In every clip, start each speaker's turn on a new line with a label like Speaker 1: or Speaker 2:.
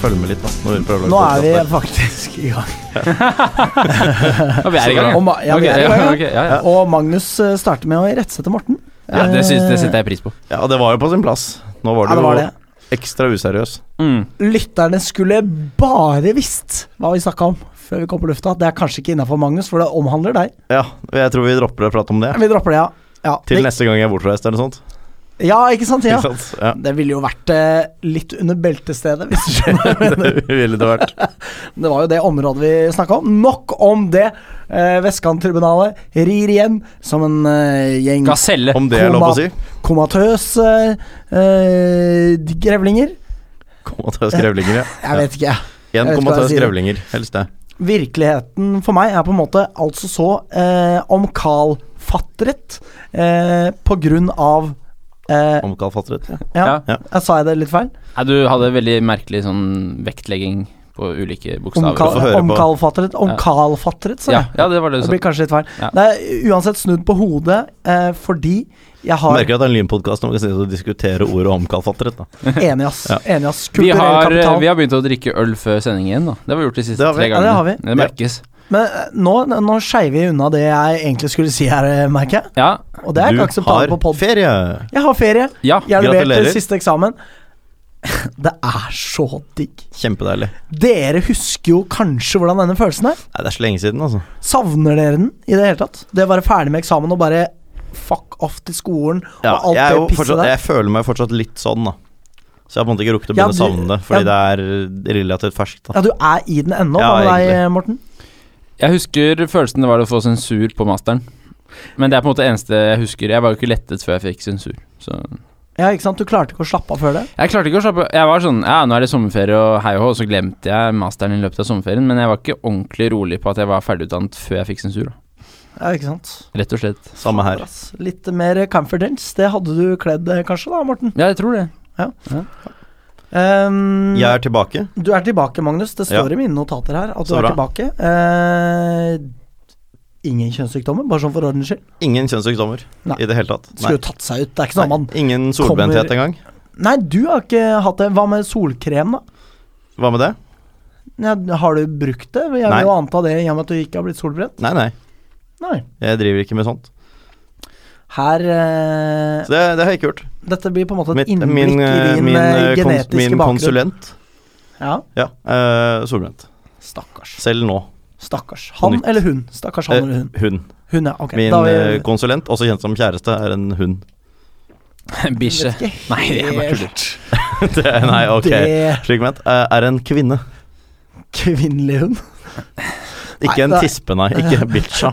Speaker 1: følge med litt. Da, når vi prøver å
Speaker 2: Nå
Speaker 1: lage
Speaker 2: er vi
Speaker 1: podcaster.
Speaker 2: faktisk i gang.
Speaker 3: Og vi er i gang.
Speaker 2: Og, Ma- ja, vi er i gang, ja.
Speaker 3: Ok, ja, ja.
Speaker 2: og Magnus eh, starter med å irettsette Morten.
Speaker 3: ja det, synes, det setter jeg pris på.
Speaker 1: Ja, og det var jo på sin plass. Nå var
Speaker 2: Ja,
Speaker 1: du
Speaker 2: det var det.
Speaker 1: jo ekstra useriøs.
Speaker 3: Mm.
Speaker 2: Lytterne skulle bare visst hva vi snakka om før vi kom på lufta. Det er kanskje ikke innafor Magnus, for det omhandler deg.
Speaker 1: Ja, jeg tror vi dropper å prate om det.
Speaker 2: Vi dropper det, ja. Ja,
Speaker 1: Til
Speaker 2: det,
Speaker 1: neste gang jeg er bortreist eller noe sånt.
Speaker 2: ja ikke sant? Ja.
Speaker 1: Ikke sant? Ja.
Speaker 2: Det ville jo vært eh, litt under beltestedet, hvis du skjønner.
Speaker 1: Det ville det vært.
Speaker 2: Det var jo det området vi snakka om. Nok om det. Eh, Vestkanttribunalet rir igjen som en eh, gjeng
Speaker 3: Gaselle.
Speaker 1: Om det er lov å si.
Speaker 2: komatøse eh, grevlinger.
Speaker 1: Komatøs grevlinger, ja.
Speaker 2: Jeg vet ikke, jeg.
Speaker 1: Én
Speaker 2: vet ikke hva jeg
Speaker 1: komatøs
Speaker 2: sier.
Speaker 1: grevlinger, helst det.
Speaker 2: Virkeligheten for meg er på en måte altså så eh, omkalfatret eh, på grunn av eh,
Speaker 1: Omkalfatret. Ja.
Speaker 2: ja,
Speaker 3: Ja.
Speaker 2: jeg sa jeg det litt feil?
Speaker 3: Nei, du hadde veldig merkelig sånn vektlegging på ulike
Speaker 2: Omkal
Speaker 3: bokstaver.
Speaker 1: får høre på.
Speaker 2: omkalfatret, omkalfatret, sa
Speaker 3: Ja,
Speaker 2: jeg.
Speaker 3: ja, det var det du
Speaker 2: Det
Speaker 3: sa.
Speaker 2: blir kanskje litt feil.
Speaker 3: Ja.
Speaker 2: Det er uansett snudd på hodet eh, fordi jeg har
Speaker 1: Merker at det er en lynpodkast når vi kan sitte og diskutere ordet omkalfatret. Da.
Speaker 2: Enig, ass.
Speaker 1: Ja.
Speaker 2: Enig, ass.
Speaker 3: Vi
Speaker 2: Kulturell
Speaker 3: har, eh,
Speaker 2: kapital.
Speaker 3: vi har begynt å drikke øl før sending igjen, da. Det har vi gjort de siste
Speaker 1: Det har vi.
Speaker 3: tre
Speaker 2: Ja, det
Speaker 3: gangene.
Speaker 2: har vi.
Speaker 3: Det merkes.
Speaker 2: Men eh, nå, nå skeier vi unna det jeg egentlig skulle si her, eh, merker jeg.
Speaker 3: Ja,
Speaker 2: Og det er
Speaker 1: du
Speaker 2: ikke akseptabelt på
Speaker 1: har
Speaker 2: pod.
Speaker 1: ferie!
Speaker 2: Jeg har ferie.
Speaker 3: ja.
Speaker 2: Jeg har levert
Speaker 1: Gratulerer.
Speaker 2: til siste eksamen. Det er så digg.
Speaker 1: Kjempedeilig.
Speaker 2: Dere husker jo kanskje hvordan denne følelsen er.
Speaker 1: Nei, det er så lenge siden, altså.
Speaker 2: Savner dere den i det hele tatt? Det å være ferdig med eksamen og bare fuck off til skolen
Speaker 1: Ja,
Speaker 2: og alt
Speaker 1: jeg, er
Speaker 2: det
Speaker 1: jo
Speaker 2: pisset
Speaker 1: fortsatt,
Speaker 2: der.
Speaker 1: jeg føler meg fortsatt litt sånn, da. Så jeg har på en måte ikke rukket å
Speaker 2: Ja,
Speaker 1: begynne å
Speaker 2: du-
Speaker 1: savne det, fordi det er relativt ferskt. da
Speaker 2: Ja, du er i den ennå.
Speaker 1: Ja,
Speaker 2: Hva med deg,
Speaker 1: egentlig.
Speaker 2: eh, Morten?
Speaker 3: Jeg husker følelsen det var å få sensur på masteren. Men det er på en måte det eneste jeg husker. Jeg var jo ikke lettet før jeg fikk sensur. Så
Speaker 2: Ja, ikke sant? Du klarte ikke å slappe av før det?
Speaker 3: Jeg klarte ikke å slappe Jeg var sånn Ja, nå er det sommerferie og hei og hå, og så glemte jeg masteren i løpet av sommerferien. Men jeg var ikke ordentlig rolig på at jeg var ferdigutdannet før jeg fikk sensur. da.
Speaker 2: Ja, ikke sant?
Speaker 3: Rett og slett.
Speaker 1: Samme her.
Speaker 2: Ass, Litt mer confidence. Det hadde du kledd eh, kanskje, da, Morten?
Speaker 3: Ja, jeg tror det.
Speaker 2: Ehm,
Speaker 1: Jeg er tilbake.
Speaker 2: Du er tilbake, Magnus. Det står i mine notater her at du
Speaker 1: Så
Speaker 2: er
Speaker 1: bra.
Speaker 2: tilbake. Ehm, ingen kjønnssykdommer, bare sånn for ordens skyld.
Speaker 1: Ingen kjønnssykdommer
Speaker 2: Nei.
Speaker 1: i det hele tatt.
Speaker 2: Skulle jo tatt seg ut. Det er ikke sånn
Speaker 1: Nei.
Speaker 2: man
Speaker 1: Ingen solbrenthet engang.
Speaker 2: Nei, du har ikke hatt det. Hva med solkrem, da?
Speaker 1: Hva med det?
Speaker 2: Ja, har du brukt det? Jeg
Speaker 1: Nei.
Speaker 2: vil jo anta det i og med at du ikke har blitt solbrent.
Speaker 1: Nei, nei.
Speaker 2: Nei.
Speaker 1: Jeg driver ikke med sånt.
Speaker 2: Her eh,
Speaker 1: Så det, det har jeg ikke gjort.
Speaker 2: Dette blir på en måte et
Speaker 1: Mitt,
Speaker 2: Sånn innblikk
Speaker 1: min
Speaker 2: i
Speaker 1: eh,
Speaker 2: din
Speaker 1: min,
Speaker 2: eh,
Speaker 1: eh, kons,
Speaker 2: genetiske
Speaker 1: min
Speaker 2: bakgrunn.
Speaker 1: konsulent
Speaker 2: Ja.
Speaker 1: Ja, eh, solbrent.
Speaker 2: Stakkars.
Speaker 1: Selv nå.
Speaker 2: Stakkars. Han
Speaker 1: Nytt.
Speaker 2: eller hun? Stakkars han
Speaker 1: Eh,
Speaker 2: eller hun.
Speaker 1: Hun.
Speaker 2: Hun, ja. Ok.
Speaker 1: Min
Speaker 2: da har vi-
Speaker 1: eh, konsulent, også kjent som kjæreste, er en hund.
Speaker 3: Bikkje.
Speaker 2: Vet ikke
Speaker 3: Nei, det er bare
Speaker 2: helt.
Speaker 3: tuller.
Speaker 1: Det, nei, ok.
Speaker 2: Det
Speaker 1: Slik ment. eh, er en kvinne.
Speaker 2: kvinnelig hund.
Speaker 1: Ikke
Speaker 2: Nei,
Speaker 1: en
Speaker 2: det-
Speaker 1: tispe, nei. Ikke bitcha.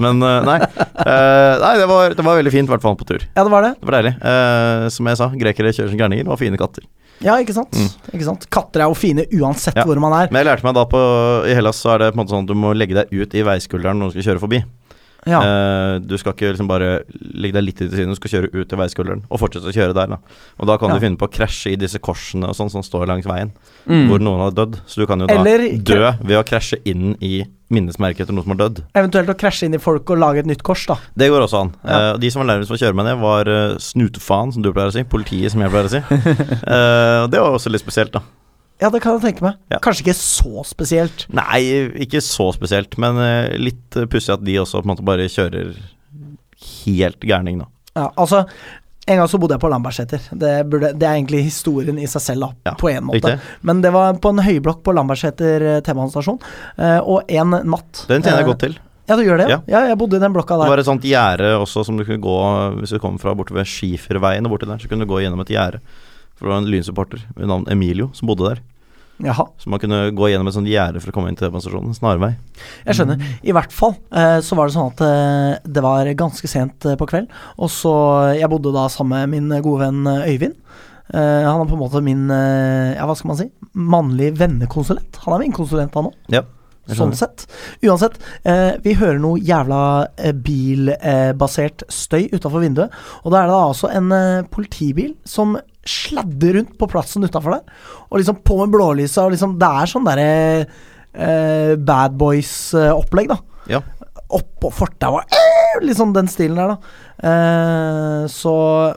Speaker 1: Men eh, nei. Eh, nei, det var, det var veldig fint, i hvert fall på tur.
Speaker 2: Ja, det var det.
Speaker 1: Det var deilig. Eh, som jeg sa, grekere kjører som gærninger og har fine katter.
Speaker 2: Ja, ikke sant?
Speaker 1: Mm.
Speaker 2: Ikke sant? Katter er jo fine uansett
Speaker 1: Ja.
Speaker 2: hvor man er.
Speaker 1: Men jeg lærte meg da på I Hellas så er det på en måte sånn at du må legge deg ut i veiskulderen når du skal kjøre forbi.
Speaker 2: Ja.
Speaker 1: Eh, du skal ikke liksom bare legge deg litt til siden, du skal kjøre ut i veiskulderen og fortsette å kjøre der. da Og da kan
Speaker 2: Ja.
Speaker 1: du finne på å krasje i disse korsene og sånn som står langs veien, hvor
Speaker 3: Mm.
Speaker 1: noen har dødd. Så du kan jo da
Speaker 2: Eller-
Speaker 1: dø ved å krasje inn i minnesmerket etter noen som har dødd.
Speaker 2: Eventuelt å krasje inn i folk og lage et nytt kors, da.
Speaker 1: Det går også an.
Speaker 2: Ja.
Speaker 1: Eh, de som var nærmest for å kjøre meg ned, var eh, snutefaen, som du pleier å si. Politiet, som jeg pleier å si. Eh, og det var også litt spesielt, da.
Speaker 2: Ja, det kan jeg tenke meg.
Speaker 1: Ja.
Speaker 2: Kanskje ikke så spesielt.
Speaker 1: Nei, ikke så spesielt, men eh, litt eh, pussig at de også på en måte bare kjører helt gærning, da.
Speaker 2: Ja, altså, en gang så bodde jeg på Lambertseter. Det, burde- det er egentlig historien i seg selv, da,
Speaker 1: Ja,
Speaker 2: på en måte.
Speaker 1: riktig.
Speaker 2: Men det var på en høyblokk på Lambertseter eh, T-banestasjon, eh, og en natt
Speaker 1: Den tjener jeg
Speaker 2: eh,
Speaker 1: godt til.
Speaker 2: Ja, du gjør det? Ja.
Speaker 1: Ja.
Speaker 2: ja, jeg bodde i den blokka
Speaker 1: Det
Speaker 2: der.
Speaker 1: var et sånt gjerde også som du kunne gå Hvis du kom fra borte ved Skiferveien og borti der, så kunne du gå gjennom et gjerde. For det var en lynsupporter ved navn Emilio som bodde der.
Speaker 2: Jaha.
Speaker 1: Så man kunne gå gjennom et sånt gjerde for å komme inn til demonstrasjonen. Snarvei.
Speaker 2: Jeg skjønner.
Speaker 1: Mm.
Speaker 2: I hvert fall eh, så var det sånn at eh, det var ganske sent eh, på kveld. Og så Jeg bodde da sammen med min gode venn eh, Øyvind. Eh, han er på en måte min eh, Ja, hva skal man si? Mannlig vennekonsulent. Han er min konsulent, han òg.
Speaker 1: Ja. jeg skjønner.
Speaker 2: Sånn sett. Uansett, eh, vi hører noe jævla eh, bilbasert støy utafor vinduet. Og da er det da altså en eh, politibil som sladder rundt på plassen utafor der. Og liksom på med blålysa, og liksom Det er sånn derre eh, Bad Boys-opplegg, da
Speaker 1: Ja.
Speaker 2: oppå fortauet «Au!» Litt sånn den stilen der, da. Eh, så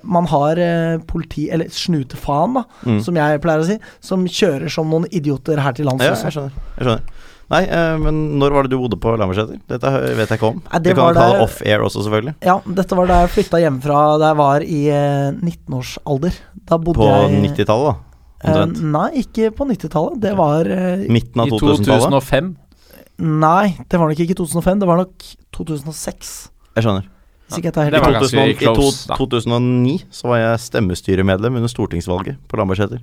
Speaker 2: man har eh, politi, eller snutefaen, da,
Speaker 1: Mm.
Speaker 2: som jeg pleier å si, som kjører som noen idioter her til lands altså.
Speaker 1: Ja,
Speaker 2: også.
Speaker 1: jeg skjønner. Jeg skjønner. Nei, eh, men når var det du bodde på Lambertseter? Dette hø- vet jeg ikke om.
Speaker 2: Nei, det
Speaker 1: Vi
Speaker 2: var
Speaker 1: kan ta
Speaker 2: der-
Speaker 1: det off-air også, selvfølgelig.
Speaker 2: Ja, dette var da jeg flytta hjemmefra da jeg var i eh, 19-årsalder. Da bodde
Speaker 1: På
Speaker 2: jeg
Speaker 1: 90-tallet, da.
Speaker 2: Eh,
Speaker 1: Omtrent. Mm.
Speaker 2: nei, ikke på 90-tallet. Det var eh,
Speaker 1: Midten av
Speaker 3: I
Speaker 1: 2000-tallet.
Speaker 3: 2005.
Speaker 2: Nei, det var nok ikke 2005. Det var nok 2006.
Speaker 1: Jeg skjønner.
Speaker 2: Hvis ikke jeg tar helt
Speaker 3: Det
Speaker 1: I,
Speaker 3: var
Speaker 2: feil.
Speaker 3: ganske
Speaker 1: 2000, I to,
Speaker 3: close, da.
Speaker 1: 2009 så var jeg stemmestyremedlem under stortingsvalget på Lambertseter.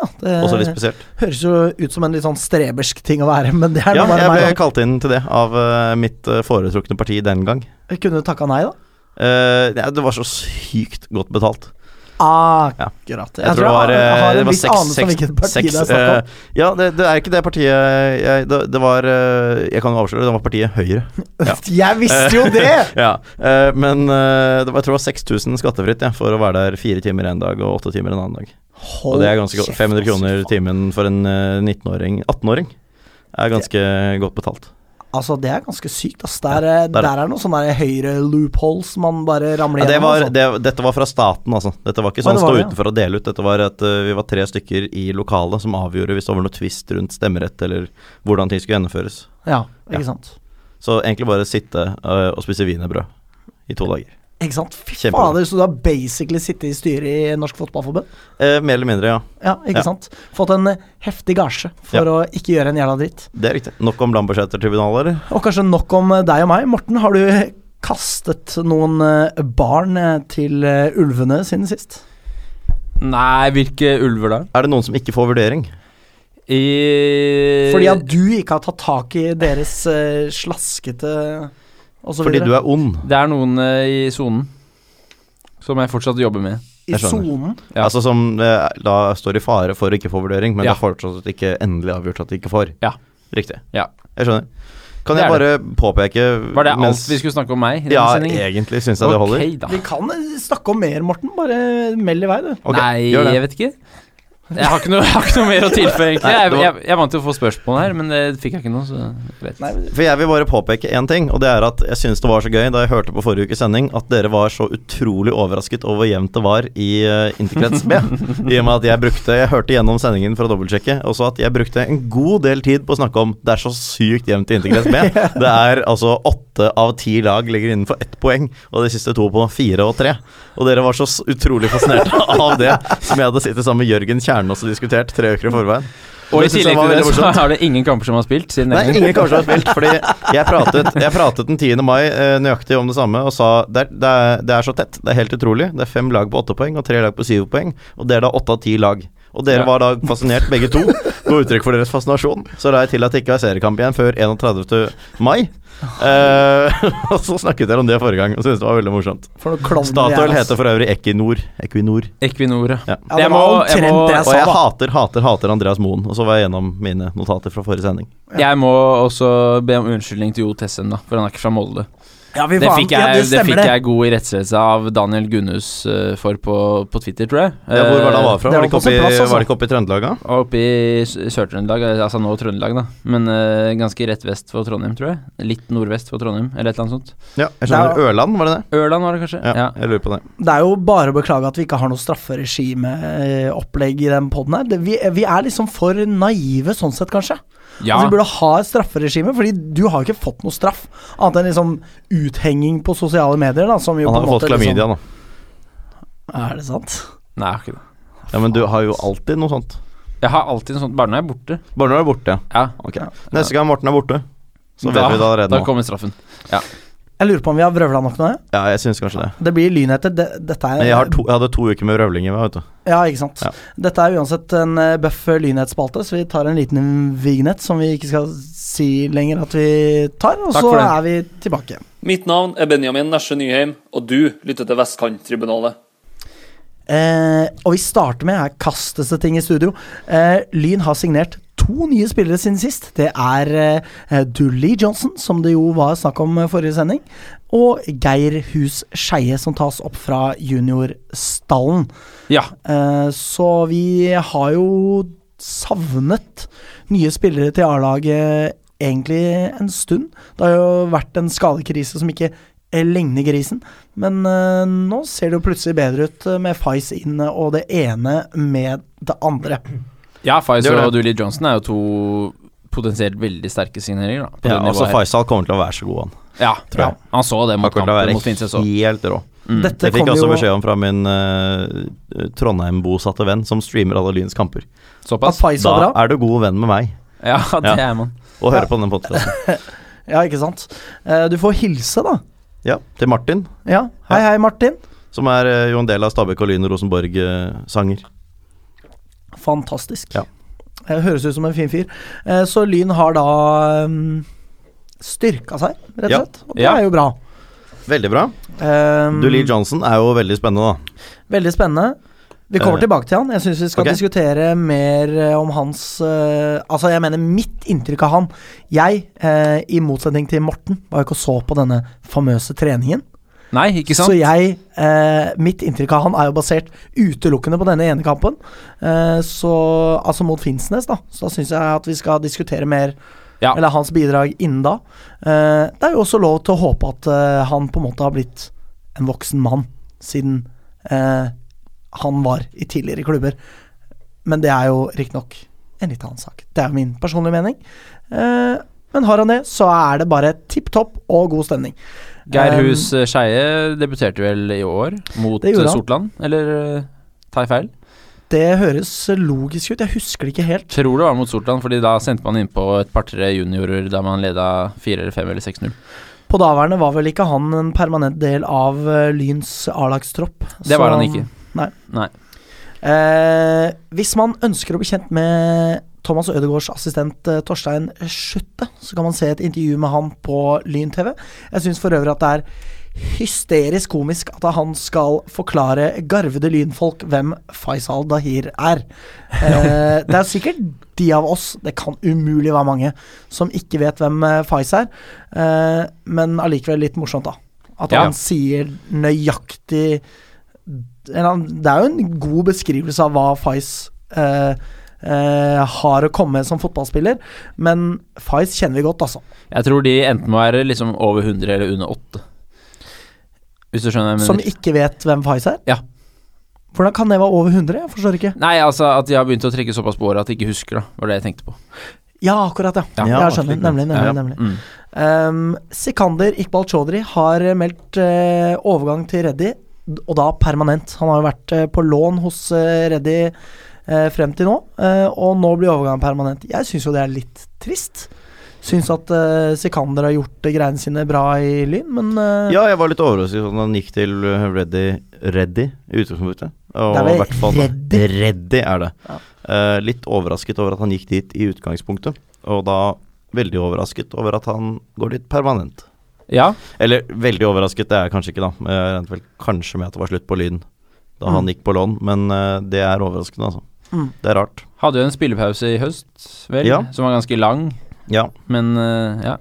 Speaker 2: Ja, det
Speaker 1: Også litt spesielt.
Speaker 2: høres jo ut som en litt sånn strebersk ting å være, men det er
Speaker 1: Ja,
Speaker 2: nå bare
Speaker 1: jeg ble
Speaker 2: meg. da.
Speaker 1: kalt inn til det av eh, mitt eh, foretrukne parti den gang.
Speaker 2: Jeg kunne jo takka nei, da.
Speaker 1: Eh, ja, det var så sykt godt betalt. Ja.
Speaker 2: Akkurat.
Speaker 1: Jeg, tror det var,
Speaker 2: jeg har
Speaker 1: eh, det
Speaker 2: en
Speaker 1: var
Speaker 2: viss
Speaker 1: seks,
Speaker 2: anelse om hvilket
Speaker 1: seks,
Speaker 2: parti
Speaker 1: seks
Speaker 2: det er snakk om.
Speaker 1: eh, Ja, det, det er ikke det partiet jeg, det, det var eh, Jeg kan jo avsløre, det var partiet Høyre. eh, ja.
Speaker 2: Jeg visste jo det!
Speaker 1: ja, eh, men eh, det var, jeg tror det var 6000 skattefritt ja, for å være der fire timer en dag og åtte timer en annen dag. Og det er ganske godt. 500 kroner timen for en eh, 19-åring 18-åring er ganske godt betalt.
Speaker 2: Altså, det er ganske sykt, ass. Der, eh,
Speaker 1: der er-
Speaker 2: der er det noen sånne der høyre loopholes man bare ramler
Speaker 1: Ja, det
Speaker 2: gjennom.
Speaker 1: var,
Speaker 2: altså.
Speaker 1: det, dette var fra staten, altså. Dette var ikke
Speaker 2: Ja,
Speaker 1: sånn
Speaker 2: det var
Speaker 1: stå
Speaker 2: det, ja.
Speaker 1: utenfor og dele ut. Dette var at eh, vi var tre stykker i lokalet som avgjorde hvis det var noe tvist rundt stemmerett eller hvordan ting skulle gjennomføres.
Speaker 2: Ja,
Speaker 1: Ja.
Speaker 2: ikke sant.
Speaker 1: Så egentlig bare sitte eh, og spise wienerbrød i to dager.
Speaker 2: Ikke sant? Fy
Speaker 1: Kjempebra.
Speaker 2: fader, så du har basically sittet i styret i Norsk Fotballforbund?
Speaker 1: Eh, mer eller mindre, ja.
Speaker 2: Ja, ikke
Speaker 1: Ja.
Speaker 2: sant? Fått en eh, heftig gasje for
Speaker 1: Ja.
Speaker 2: å ikke gjøre en jævla dritt.
Speaker 1: Det er riktig. Nok om Lambertseter-tribunalet, eller?
Speaker 2: Og kanskje nok om eh, deg og meg. Morten, har du eh, kastet noen eh, barn eh, til eh, ulvene siden sist?
Speaker 3: Nei, hvilke ulver da?
Speaker 1: Er det noen som ikke får vurdering?
Speaker 3: I
Speaker 2: Fordi at du ikke har tatt tak i deres eh, slaskete og så
Speaker 1: Fordi du
Speaker 2: videre.
Speaker 1: er ond.
Speaker 3: Det er noen eh, i sonen som jeg fortsatt jobber med.
Speaker 2: I
Speaker 1: jeg skjønner.
Speaker 2: sonen.
Speaker 3: Ja.
Speaker 1: Altså som eh, da står i fare for å ikke få vurdering, men
Speaker 3: Ja.
Speaker 1: det er fortsatt ikke endelig avgjort at de ikke får.
Speaker 3: Ja.
Speaker 1: Riktig.
Speaker 3: Ja.
Speaker 1: Jeg skjønner. Kan
Speaker 3: Det
Speaker 1: jeg
Speaker 3: er
Speaker 1: bare påpeke
Speaker 3: Var det
Speaker 1: mens-
Speaker 3: alt vi skulle snakke om meg? i denne
Speaker 1: Ja,
Speaker 3: sendingen?
Speaker 1: egentlig syns jeg det holder.
Speaker 3: Ok, da.
Speaker 2: Vi kan eh, snakke om mer, Morten. Bare meld i vei, du.
Speaker 1: Ok,
Speaker 3: Nei,
Speaker 1: gjør det.
Speaker 3: jeg vet ikke. Jeg har ikke noe, jeg har ikke noe mer å tilføye, egentlig.
Speaker 1: Nei,
Speaker 3: Jeg,
Speaker 1: det var-
Speaker 3: jeg, jeg vant til å få spørsmål her, men det fikk jeg ikke nå, så greit.
Speaker 2: Nei,
Speaker 1: For jeg vil bare påpeke én ting, og det er at jeg syns det var så gøy da jeg hørte på forrige ukes sending at dere var så utrolig overrasket over hvor jevnt det var i uh, Interkrets B. I og med at jeg brukte Jeg hørte gjennom sendingen for å dobbeltsjekke, også at jeg brukte en god del tid på å snakke om det er så sykt jevnt i Interkrets B. Det er altså åtte av ti lag ligger innenfor ett poeng, og de siste to på fire og tre. Og dere var så s- utrolig fascinerte av det, som jeg hadde sittet sammen med Jørgen Kjernås og diskutert tre uker i forveien.
Speaker 3: Og i
Speaker 1: Det synes jeg
Speaker 3: tillegg
Speaker 1: var
Speaker 3: til det
Speaker 1: veldig
Speaker 3: så
Speaker 1: morsomt.
Speaker 3: er det ingen kamper som har spilt siden
Speaker 1: Nei,
Speaker 3: England.
Speaker 1: ingen kanskje har spilt, fordi jeg pratet, jeg pratet den 10. mai eh, nøyaktig om det samme og sa det er, det, er, det er så tett, det er helt utrolig. Det er fem lag på åtte poeng og tre lag på syv poeng, og det er da åtte av ti lag. Og dere
Speaker 3: Ja.
Speaker 1: var da fascinert, begge to. Gå uttrykk for deres fascinasjon. Så la jeg til at det ikke er seriekamp igjen før 31. mai. Eh, og så snakket dere om det forrige gang og syntes det var veldig morsomt.
Speaker 2: For noen klovner jeg
Speaker 1: Statoil
Speaker 2: er, ass.
Speaker 1: heter for øvrig Equinor. Equinor.
Speaker 3: Equinor, ja.
Speaker 1: Ja.
Speaker 2: Ja, det
Speaker 3: Jeg
Speaker 2: var
Speaker 3: må- jeg
Speaker 2: omtrent
Speaker 3: må-
Speaker 2: det jeg
Speaker 1: Og
Speaker 2: sa,
Speaker 1: jeg
Speaker 2: da.
Speaker 1: hater, hater, hater Andreas Moen. Og så var jeg gjennom mine notater fra forrige sending.
Speaker 3: Jeg må også be om unnskyldning til Jo Tessen, da, for han er ikke fra Molde.
Speaker 2: Ja, vi
Speaker 3: Det
Speaker 2: var-
Speaker 3: fikk
Speaker 2: ja,
Speaker 3: jeg, det
Speaker 2: stemmer
Speaker 3: fikk jeg god irettsettelse av Daniel Gunnhus eh, for på, på Twitter, tror jeg. Eh,
Speaker 1: Ja, hvor var det han var fra? Var det
Speaker 2: Eh, det var
Speaker 1: ikke
Speaker 2: på sin
Speaker 1: oppe i,
Speaker 2: plass, altså.
Speaker 1: var det ikke oppe i Trøndelag, da?
Speaker 3: Og oppe i S- Sør-Trøndelag, eh, altså nå Trøndelag, da. Men eh, ganske rett vest for Trondheim, tror jeg. Litt nordvest for Trondheim, eller et eller annet sånt.
Speaker 1: Ja, jeg skjønner.
Speaker 2: Det
Speaker 1: Ørland, var det det?
Speaker 3: Ørland var det kanskje?
Speaker 1: Ja, jeg lurer på det.
Speaker 2: Det er jo bare å beklage at vi ikke har noe strafferegimeopplegg i den poden her. Det, vi, vi er liksom for naive sånn sett, kanskje. Altså, vi burde ha et strafferegime, fordi du har jo ikke fått noe straff. Annet enn liksom uthenging på sosiale medier, da, som jo
Speaker 1: Han
Speaker 2: på
Speaker 1: har
Speaker 2: en
Speaker 1: fått
Speaker 2: måte
Speaker 1: klamydia, da.
Speaker 2: Liksom, er det sant?
Speaker 3: Nei, jeg har ikke det.
Speaker 1: Ja, Men du har jo alltid noe sånt.
Speaker 3: Jeg har alltid en sånn Bare når jeg er borte.
Speaker 1: Bare når du er borte.
Speaker 3: Ja.
Speaker 1: Ok.
Speaker 2: Ja.
Speaker 1: Neste gang Morten er borte, så
Speaker 3: Da-
Speaker 1: vet vi det allerede
Speaker 3: Da
Speaker 1: nå.
Speaker 3: kommer straffen.
Speaker 2: Jeg lurer på om vi har vrøvla nok nå. jeg.
Speaker 1: Ja, jeg syns kanskje det.
Speaker 2: Det blir lynheter. Det, dette er
Speaker 1: Men jeg, har to, jeg hadde to uker med vrøvling i meg, vet du.
Speaker 2: Ja, ikke sant.
Speaker 1: Ja.
Speaker 2: Dette er uansett en eh, bøff lynhetsspalte, så vi tar en liten vignett som vi ikke skal si lenger at vi tar, og
Speaker 3: Takk
Speaker 2: så
Speaker 3: for det.
Speaker 2: er vi tilbake.
Speaker 4: Mitt navn er Benjamin Nesje Nyheim, og du lytter til Vestkanttribunalet.
Speaker 2: Eh, og vi starter med Her kastes det ting i studio. Eh, Lyn har signert to nye spillere siden sist. Det er eh, Dully Johnson, som det jo var snakk om eh, forrige sending, og Geir Hus Skeie, som tas opp fra juniorstallen.
Speaker 3: Ja.
Speaker 2: Eh, så vi har jo savnet nye spillere til A-laget egentlig en stund. Det har jo vært en skadekrise som ikke lignegrisen. Men eh, nå ser det jo plutselig bedre ut eh, med Fice inn eh, og det ene med det andre.
Speaker 3: Ja, Pfizer
Speaker 1: Det gjør det.
Speaker 3: og Dooley Johnson er jo to potensielt veldig sterke signeringer. Da, på
Speaker 1: Ja,
Speaker 3: det
Speaker 1: altså
Speaker 3: nivået her.
Speaker 1: Faisal kommer til å være så god, han.
Speaker 3: ja,
Speaker 1: tror jeg.
Speaker 3: Han så det
Speaker 1: Han
Speaker 3: mot
Speaker 1: kommer til å
Speaker 3: kampen mot Finnsnes
Speaker 1: være
Speaker 3: òg.
Speaker 1: helt rå.
Speaker 3: Mm.
Speaker 2: Dette
Speaker 1: Det fikk
Speaker 2: kommer
Speaker 1: jeg også
Speaker 2: jo-
Speaker 1: beskjed om fra min eh, Trondheim-bosatte venn, som streamer alle Lyns kamper.
Speaker 2: At
Speaker 3: Såpass?
Speaker 2: Fice
Speaker 1: Da
Speaker 2: var bra.
Speaker 1: er du god venn med meg,
Speaker 3: Ja, det
Speaker 1: Ja.
Speaker 3: er man.
Speaker 1: og hører på denne podkasten.
Speaker 2: Ja, ikke sant. Eh, Du får hilse, da.
Speaker 1: Ja, til Martin,
Speaker 2: Ja. Hei, hei, Martin.
Speaker 1: som er eh, jo en del av Stabæk og Lyn eh, og Rosenborg-sanger.
Speaker 2: Fantastisk.
Speaker 1: Ja.
Speaker 2: Eh, Høres ut som en fin fyr. Eh, Så Lyn har da mm, styrka seg, rett
Speaker 1: Ja.
Speaker 2: og slett. Og det
Speaker 3: Ja.
Speaker 2: er jo bra.
Speaker 1: Veldig bra.
Speaker 2: Um,
Speaker 1: Dooley Johnson er jo veldig spennende, da.
Speaker 2: Veldig spennende. Vi kommer
Speaker 1: Eh,
Speaker 2: tilbake til han. Jeg syns vi skal
Speaker 1: ok.
Speaker 2: diskutere mer eh, om hans eh, Altså, jeg mener mitt inntrykk av han. Jeg, eh, i motsetning til Morten, var jo ikke og så på denne famøse treningen.
Speaker 3: Nei, ikke sant?
Speaker 2: Så jeg eh, Mitt inntrykk av han er jo basert utelukkende på denne ene kampen. Eh, så Altså mot Finnsnes, da. Så da syns jeg at vi skal diskutere mer
Speaker 3: Ja.
Speaker 2: Eller hans bidrag innen da. Eh, det er jo også lov til å håpe at eh, han på en måte har blitt en voksen mann siden eh, han var i tidligere klubber. Men det er jo riktignok en litt annen sak. Det er jo min personlige mening. Eh, men har han det, så er det bare tipp topp og god stemning.
Speaker 3: Geir
Speaker 2: Um,
Speaker 3: Hus
Speaker 1: ehm,
Speaker 3: eh, Skeie debuterte vel i år mot
Speaker 2: Det gjorde
Speaker 3: eh,
Speaker 2: han.
Speaker 3: Sortland, eller eh, tar jeg feil?
Speaker 2: Det høres logisk ut. Jeg husker det ikke helt.
Speaker 3: Tror det var mot Sortland, fordi da sendte man innpå et par-tre juniorer da man leda 4 eller 5 eller 6-0.
Speaker 2: På daværende var vel ikke han en permanent del av eh, Lyns A-lagstropp.
Speaker 3: Det var han ikke.
Speaker 2: Nei.
Speaker 3: Nei.
Speaker 2: Eh, hvis man ønsker å bli kjent med Thomas Ødegaards assistent eh, Torstein Schutte, så kan man se et intervju med han på Lyn TV. Jeg syns for øvrig at det er hysterisk komisk at han skal forklare garvede lynfolk hvem Faisal Dahir er. Eh, det er sikkert de av oss, det kan umulig være mange, som ikke vet hvem eh, Fais er. Eh, men allikevel litt morsomt, da. At
Speaker 3: Ja.
Speaker 2: han sier nøyaktig eller han- Det er jo en god beskrivelse av hva Fais eh, eh, har å komme med som fotballspiller, men Fais kjenner vi godt, altså.
Speaker 3: Jeg tror de enten må være liksom over 100 eller under 8. Hvis du skjønner hva jeg
Speaker 2: Som
Speaker 3: mener?
Speaker 2: ikke vet hvem Fais er.
Speaker 3: Ja.
Speaker 2: Hvordan kan det være over 100? Jeg forstår ikke.
Speaker 3: Nei, altså at de har begynt å trekke såpass på året at de ikke husker, da. Var det jeg tenkte på.
Speaker 2: Ja, akkurat, ja.
Speaker 1: Ja,
Speaker 2: ja, jeg skjønner.
Speaker 1: slik, ja.
Speaker 2: Nemlig, nemlig.
Speaker 3: Ja, ja.
Speaker 2: nemlig.
Speaker 3: Mm.
Speaker 2: Um, Sikander Iqbal Chaudhry har eh, meldt eh, overgang til Reddy, d- og da permanent. Han har jo vært eh, på lån hos eh, Reddy eh, frem til nå, eh, og nå blir overgangen permanent. Jeg syns jo det er litt trist. Syns at eh, Sikander har gjort eh, greiene sine bra i Lyn, men eh,
Speaker 1: Ja, jeg var litt overrasket sånn at han gikk til eh, Reddy Reddy i utgangspunktet. Og
Speaker 2: Det er vel
Speaker 1: i hvert fall-
Speaker 2: Reddy?
Speaker 1: Reddy er det.
Speaker 2: Ja.
Speaker 1: Eh, litt overrasket over at han gikk dit i utgangspunktet, og da veldig overrasket over at han går dit permanent.
Speaker 3: Ja,
Speaker 1: Eller veldig overrasket, det er jeg kanskje ikke, da. Eh, Jeg regnet vel kanskje med at det var slutt på Lyn da han gikk på lån, men eh, det er overraskende, altså.
Speaker 2: Mm.
Speaker 1: Det er rart.
Speaker 3: hadde jo en spillepause i høst, vel,
Speaker 1: Ja.
Speaker 3: som var ganske lang,
Speaker 1: Ja.
Speaker 3: men eh, ja.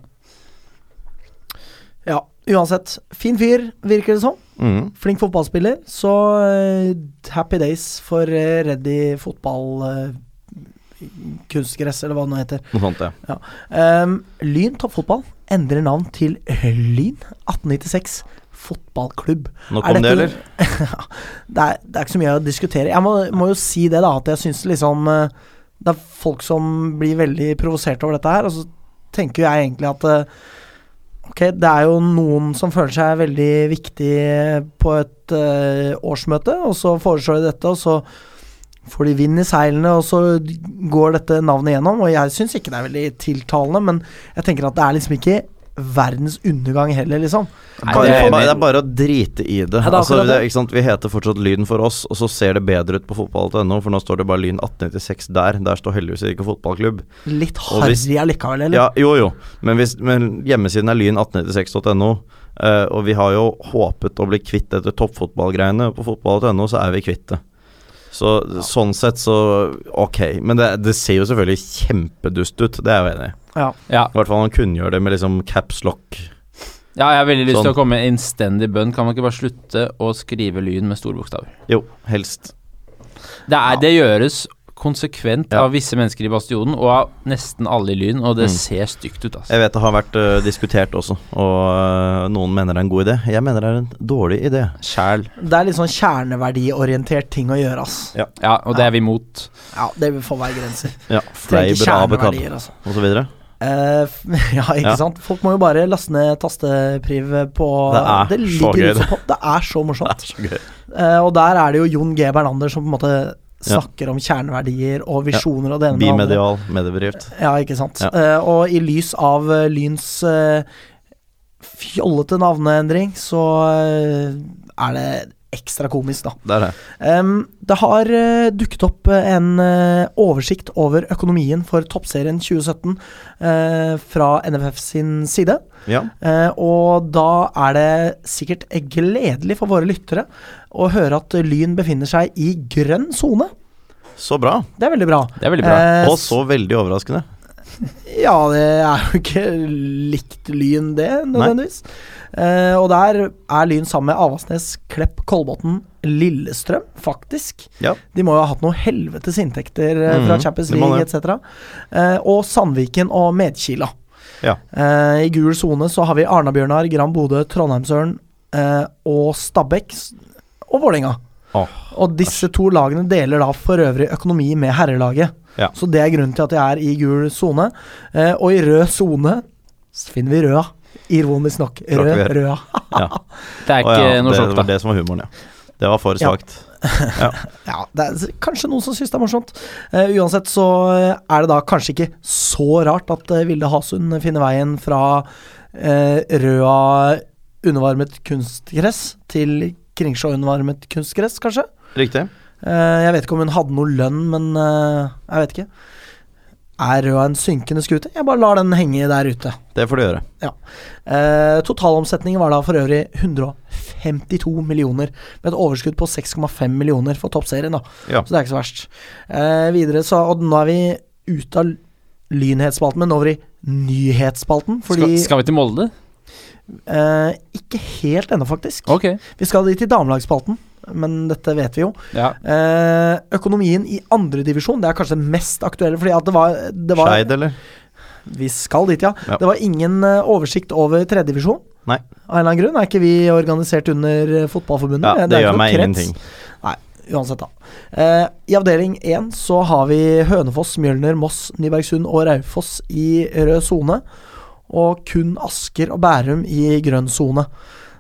Speaker 2: ja, uansett. Fin fyr, virker det som.
Speaker 1: Mm.
Speaker 2: Flink fotballspiller, så eh, happy days for eh, Reddy fotball eh, kunstgress, eller hva det nå heter.
Speaker 1: Noe sånt, ja.
Speaker 2: Um, Lyn toppfotball endrer navn til Lyn 1896 fotballklubb.
Speaker 1: Nok
Speaker 2: Er
Speaker 1: om det,
Speaker 2: dette-
Speaker 1: eller?
Speaker 2: Det er, det er ikke så mye å diskutere. Jeg må, må jo si det, da, at jeg syns liksom eh, Det er folk som blir veldig provosert over dette her, og så tenker jeg egentlig at eh, Ok, det er jo noen som føler seg veldig viktig på et eh, årsmøte, og så foreslår de dette, og så får de vind i seilene, og så går dette navnet gjennom. Og jeg syns ikke det er veldig tiltalende, men jeg tenker at det er liksom ikke verdens undergang heller, liksom.
Speaker 3: Nei,
Speaker 1: Kan-
Speaker 3: det
Speaker 1: det, er bare,
Speaker 3: er
Speaker 1: det
Speaker 3: mer-
Speaker 1: er bare å drite i det.
Speaker 2: Ja, det er
Speaker 1: altså,
Speaker 2: akkurat
Speaker 1: det,
Speaker 2: det.
Speaker 1: ikke sant? Vi heter fortsatt Lyn for oss, og så ser det bedre ut på fotball.no, for nå står det bare Lyn 1896 der. Der står heldigvis ikke fotballklubb.
Speaker 2: Litt
Speaker 1: Og hvis-
Speaker 2: harry allikevel, eller?
Speaker 1: Ja, jo, jo, men, hvis, men hjemmesiden er lyn1896.no, eh, og vi har jo håpet å bli kvitt dette toppfotballgreiene. På fotball.no så er vi kvitt det. Så sånn sett, så ok. Men det, det ser jo selvfølgelig kjempedust ut, det er jeg enig i.
Speaker 2: Ja.
Speaker 3: ja.
Speaker 1: I hvert fall han kunngjør det med liksom caps lock.
Speaker 3: ja, jeg har veldig lyst til
Speaker 1: Sånn.
Speaker 3: å komme med innstendig bønn. Kan man ikke bare slutte å skrive Lyn med store bokstaver?
Speaker 1: Jo, helst.
Speaker 3: Det, er, det gjøres konsekvent
Speaker 1: Ja. Mm.
Speaker 3: av visse mennesker i Bastionen, og av nesten alle i Lyn, og det ser stygt ut, altså.
Speaker 1: Jeg vet det har vært eh, diskutert også, og eh, noen mener det er en god idé. Jeg mener det er en dårlig idé.
Speaker 3: Sjæl.
Speaker 2: Det er litt sånn kjerneverdiorientert ting å gjøre, ass.
Speaker 3: Ja, og det er vi imot.
Speaker 2: Ja, det får være grenser.
Speaker 1: Ja,
Speaker 2: Trenger ikke
Speaker 1: Fleiber Abekab
Speaker 2: kjerneverdier, altså.
Speaker 1: og så videre.
Speaker 2: Eh, f- ja, ikke
Speaker 1: Ja.
Speaker 2: sant. Folk må jo bare laste ned tastepriv på
Speaker 1: Det er så
Speaker 2: ligger
Speaker 1: gøy,
Speaker 2: ut som pop. Det er så
Speaker 1: Det
Speaker 2: morsomt.
Speaker 1: er så gøy.
Speaker 2: Eh, og der er det jo Jon G. Bernander som på en måte snakker om kjerneverdier og visjoner og det ene med det andre.
Speaker 1: Bimedial, medievrift.
Speaker 2: Ja, ikke sant.
Speaker 1: Ja.
Speaker 2: Eh, og i lys av eh, Lyns eh, fjollete navneendring, så eh, er det ekstra komisk, da.
Speaker 1: Det er det.
Speaker 2: Em, det har eh, dukket opp eh, en eh, oversikt over økonomien for toppserien 2017 eh, fra NFF sin side.
Speaker 1: Ja.
Speaker 2: Eh, og da er det sikkert gledelig for våre lyttere å høre at Lyn befinner seg i grønn sone.
Speaker 1: Så bra.
Speaker 2: Det er veldig bra.
Speaker 3: Det er veldig bra.
Speaker 2: Eh,
Speaker 1: Og så veldig overraskende.
Speaker 2: Ja, det er jo ikke likt Lyn, det, nødvendigvis. Eh, og der er Lyn sammen med Avaldsnes, Klepp, Kolbotn, Lillestrøm, faktisk.
Speaker 1: Ja.
Speaker 2: De må jo ha hatt noe helvetes inntekter eh, fra
Speaker 1: Mhm,
Speaker 2: Champions
Speaker 1: det må
Speaker 2: League
Speaker 1: det.
Speaker 2: etc. Eh, og Sandviken og Medkila.
Speaker 1: Ja.
Speaker 2: Eh, I gul sone så har vi Arna-Bjørnar, Gran Bodø, Trondheimsøren eh, og Stabæk s- og Vålerenga.
Speaker 1: Åh,
Speaker 2: og disse to lagene deler da for øvrig økonomi med herrelaget.
Speaker 1: Ja.
Speaker 2: Så det er grunnen til at de er i gul sone. Eh, og i rød sone så finner vi Røa. Ironisk nok.
Speaker 1: Klart vi
Speaker 2: Rød,
Speaker 1: gjør.
Speaker 2: Røa.
Speaker 1: Ja.
Speaker 3: Det
Speaker 1: Å
Speaker 3: er ikke
Speaker 1: ja,
Speaker 3: noe
Speaker 1: det
Speaker 3: sjokk,
Speaker 1: var
Speaker 3: da.
Speaker 1: det som var humoren, ja. Det var for
Speaker 2: Ja.
Speaker 1: svakt.
Speaker 2: Ja, det er s- kanskje noen som syns det er morsomt. Eh, uansett så eh, er det da kanskje ikke så rart at eh, Vilde Hasund finner veien fra eh, Røa undervarmet kunstgress til Kringsjå undervarmet kunstgress, kanskje.
Speaker 1: Riktig.
Speaker 2: Eh, jeg vet ikke om hun hadde noe lønn, men eh, jeg vet ikke. Er Røa en synkende skute? Jeg bare lar den henge der ute.
Speaker 1: Det får du gjøre.
Speaker 2: Eh, totalomsetningen var da for øvrig 152 millioner, med et overskudd på 6,5 millioner for toppserien. da
Speaker 1: Ja.
Speaker 2: Så det er ikke så verst. Eh, videre så Og nå er vi ute av lynhetsspalten, men over i nyhetsspalten. Fordi
Speaker 3: Skal, skal vi til Molde?
Speaker 2: Eh, Ikke helt ennå, faktisk.
Speaker 3: Ok.
Speaker 2: Vi skal dit i damelagsspalten, men dette vet vi jo.
Speaker 3: Ja.
Speaker 2: Eh, økonomien i andredivisjon, det er kanskje det mest aktuelle. Fordi at det var, det var Mm,
Speaker 1: Skeid, eller?
Speaker 2: Vi skal dit, ja.
Speaker 1: Ja.
Speaker 2: Det var ingen eh, oversikt over tredjedivisjon.
Speaker 1: Nei.
Speaker 2: Av en eller annen grunn er ikke vi organisert under eh, Fotballforbundet.
Speaker 1: Ja,
Speaker 2: Eh,
Speaker 1: det
Speaker 2: er ikke
Speaker 1: gjør
Speaker 2: noe
Speaker 1: meg
Speaker 2: krets.
Speaker 1: ingenting.
Speaker 2: Uansett, da. Eh, I avdeling 1 så har vi Hønefoss, Mjølner, Moss, Nybergsund og Raufoss i rød sone. Og kun Asker og Bærum i grønn sone.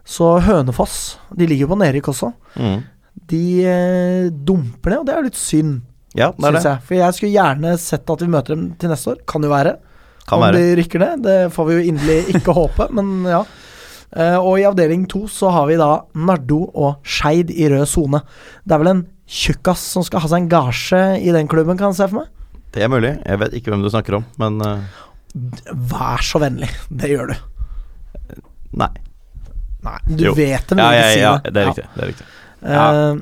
Speaker 2: Så Hønefoss De ligger jo på nedrykk også.
Speaker 1: Mm.
Speaker 2: De eh, dumper det, og det er jo litt synd,
Speaker 1: Ja, det er det.
Speaker 2: syns jeg. For jeg skulle gjerne sett at vi møter dem til neste år. Kan jo være.
Speaker 1: Kan
Speaker 2: Om
Speaker 1: være.
Speaker 2: de rykker ned, det får vi jo inderlig ikke håpe, men ja. Eh, og i avdeling to så har vi da Nardo og Skeid i rød sone. Det er vel en tjukkas som skal ha seg en gasje i den klubben, kan jeg se for meg?
Speaker 1: Det er mulig. Jeg vet ikke hvem du snakker om, men eh,
Speaker 2: Vær så vennlig, det gjør du.
Speaker 1: nei.
Speaker 2: Nei, du
Speaker 1: Jo.
Speaker 2: vet det, men
Speaker 1: Ja,
Speaker 2: du vil
Speaker 1: ja,
Speaker 2: ikke si
Speaker 1: ja,
Speaker 2: det.
Speaker 1: det er riktig. Det er riktig.
Speaker 2: Ja. Eh,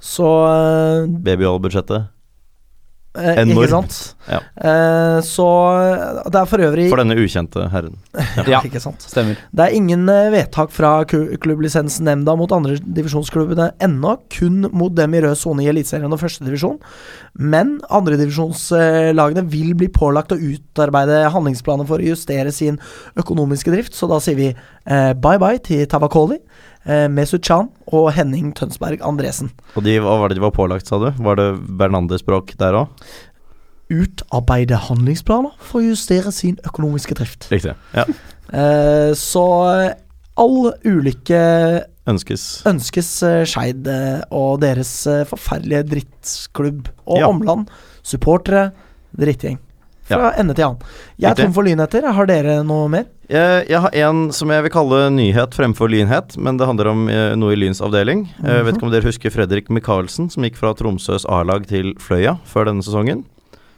Speaker 2: Så eh,
Speaker 1: Babyhall-budsjettet
Speaker 2: eh,
Speaker 1: Enormt.
Speaker 2: Ikke sant?
Speaker 1: Ja.
Speaker 2: Eh, så det er for øvrig
Speaker 1: for denne ukjente herren.
Speaker 3: Ja.
Speaker 2: Ikke sant?
Speaker 3: Stemmer.
Speaker 2: Det er ingen eh, vedtak fra ku- klubblisensnemnda mot andre divisjonsklubbene ennå, kun mot dem i rød sone i Eliteserien og førstedivisjon. Men andredivisjonslagene vil bli pålagt å utarbeide handlingsplaner for å justere sin økonomiske drift, så da sier vi eh, bye-bye til Tavakoli, eh, Mesut Chan og Henning Tønsberg Andresen.
Speaker 1: Og de, hva var det de var pålagt, sa du? Var det Bernander-språk der òg?
Speaker 2: Utarbeide handlingsplaner for å justere sin økonomiske drift.
Speaker 1: Riktig. Ja.
Speaker 2: Eh, så eh, all ulykke
Speaker 1: Ønskes.
Speaker 2: ønskes eh, Skeid eh, og deres eh, forferdelige drittklubb og
Speaker 1: Ja.
Speaker 2: omland, supportere, drittgjeng. Fra ende til annen. Jeg er
Speaker 1: Riktig.
Speaker 2: tom for lynheter. Har dere noe mer?
Speaker 1: Jeg, jeg har en som jeg vil kalle nyhet fremfor lynhet, men det handler om eh, noe i Lyns avdeling. Jeg vet ikke om dere husker Fredrik Michaelsen, som gikk fra Tromsøs A-lag til Fløya før denne sesongen.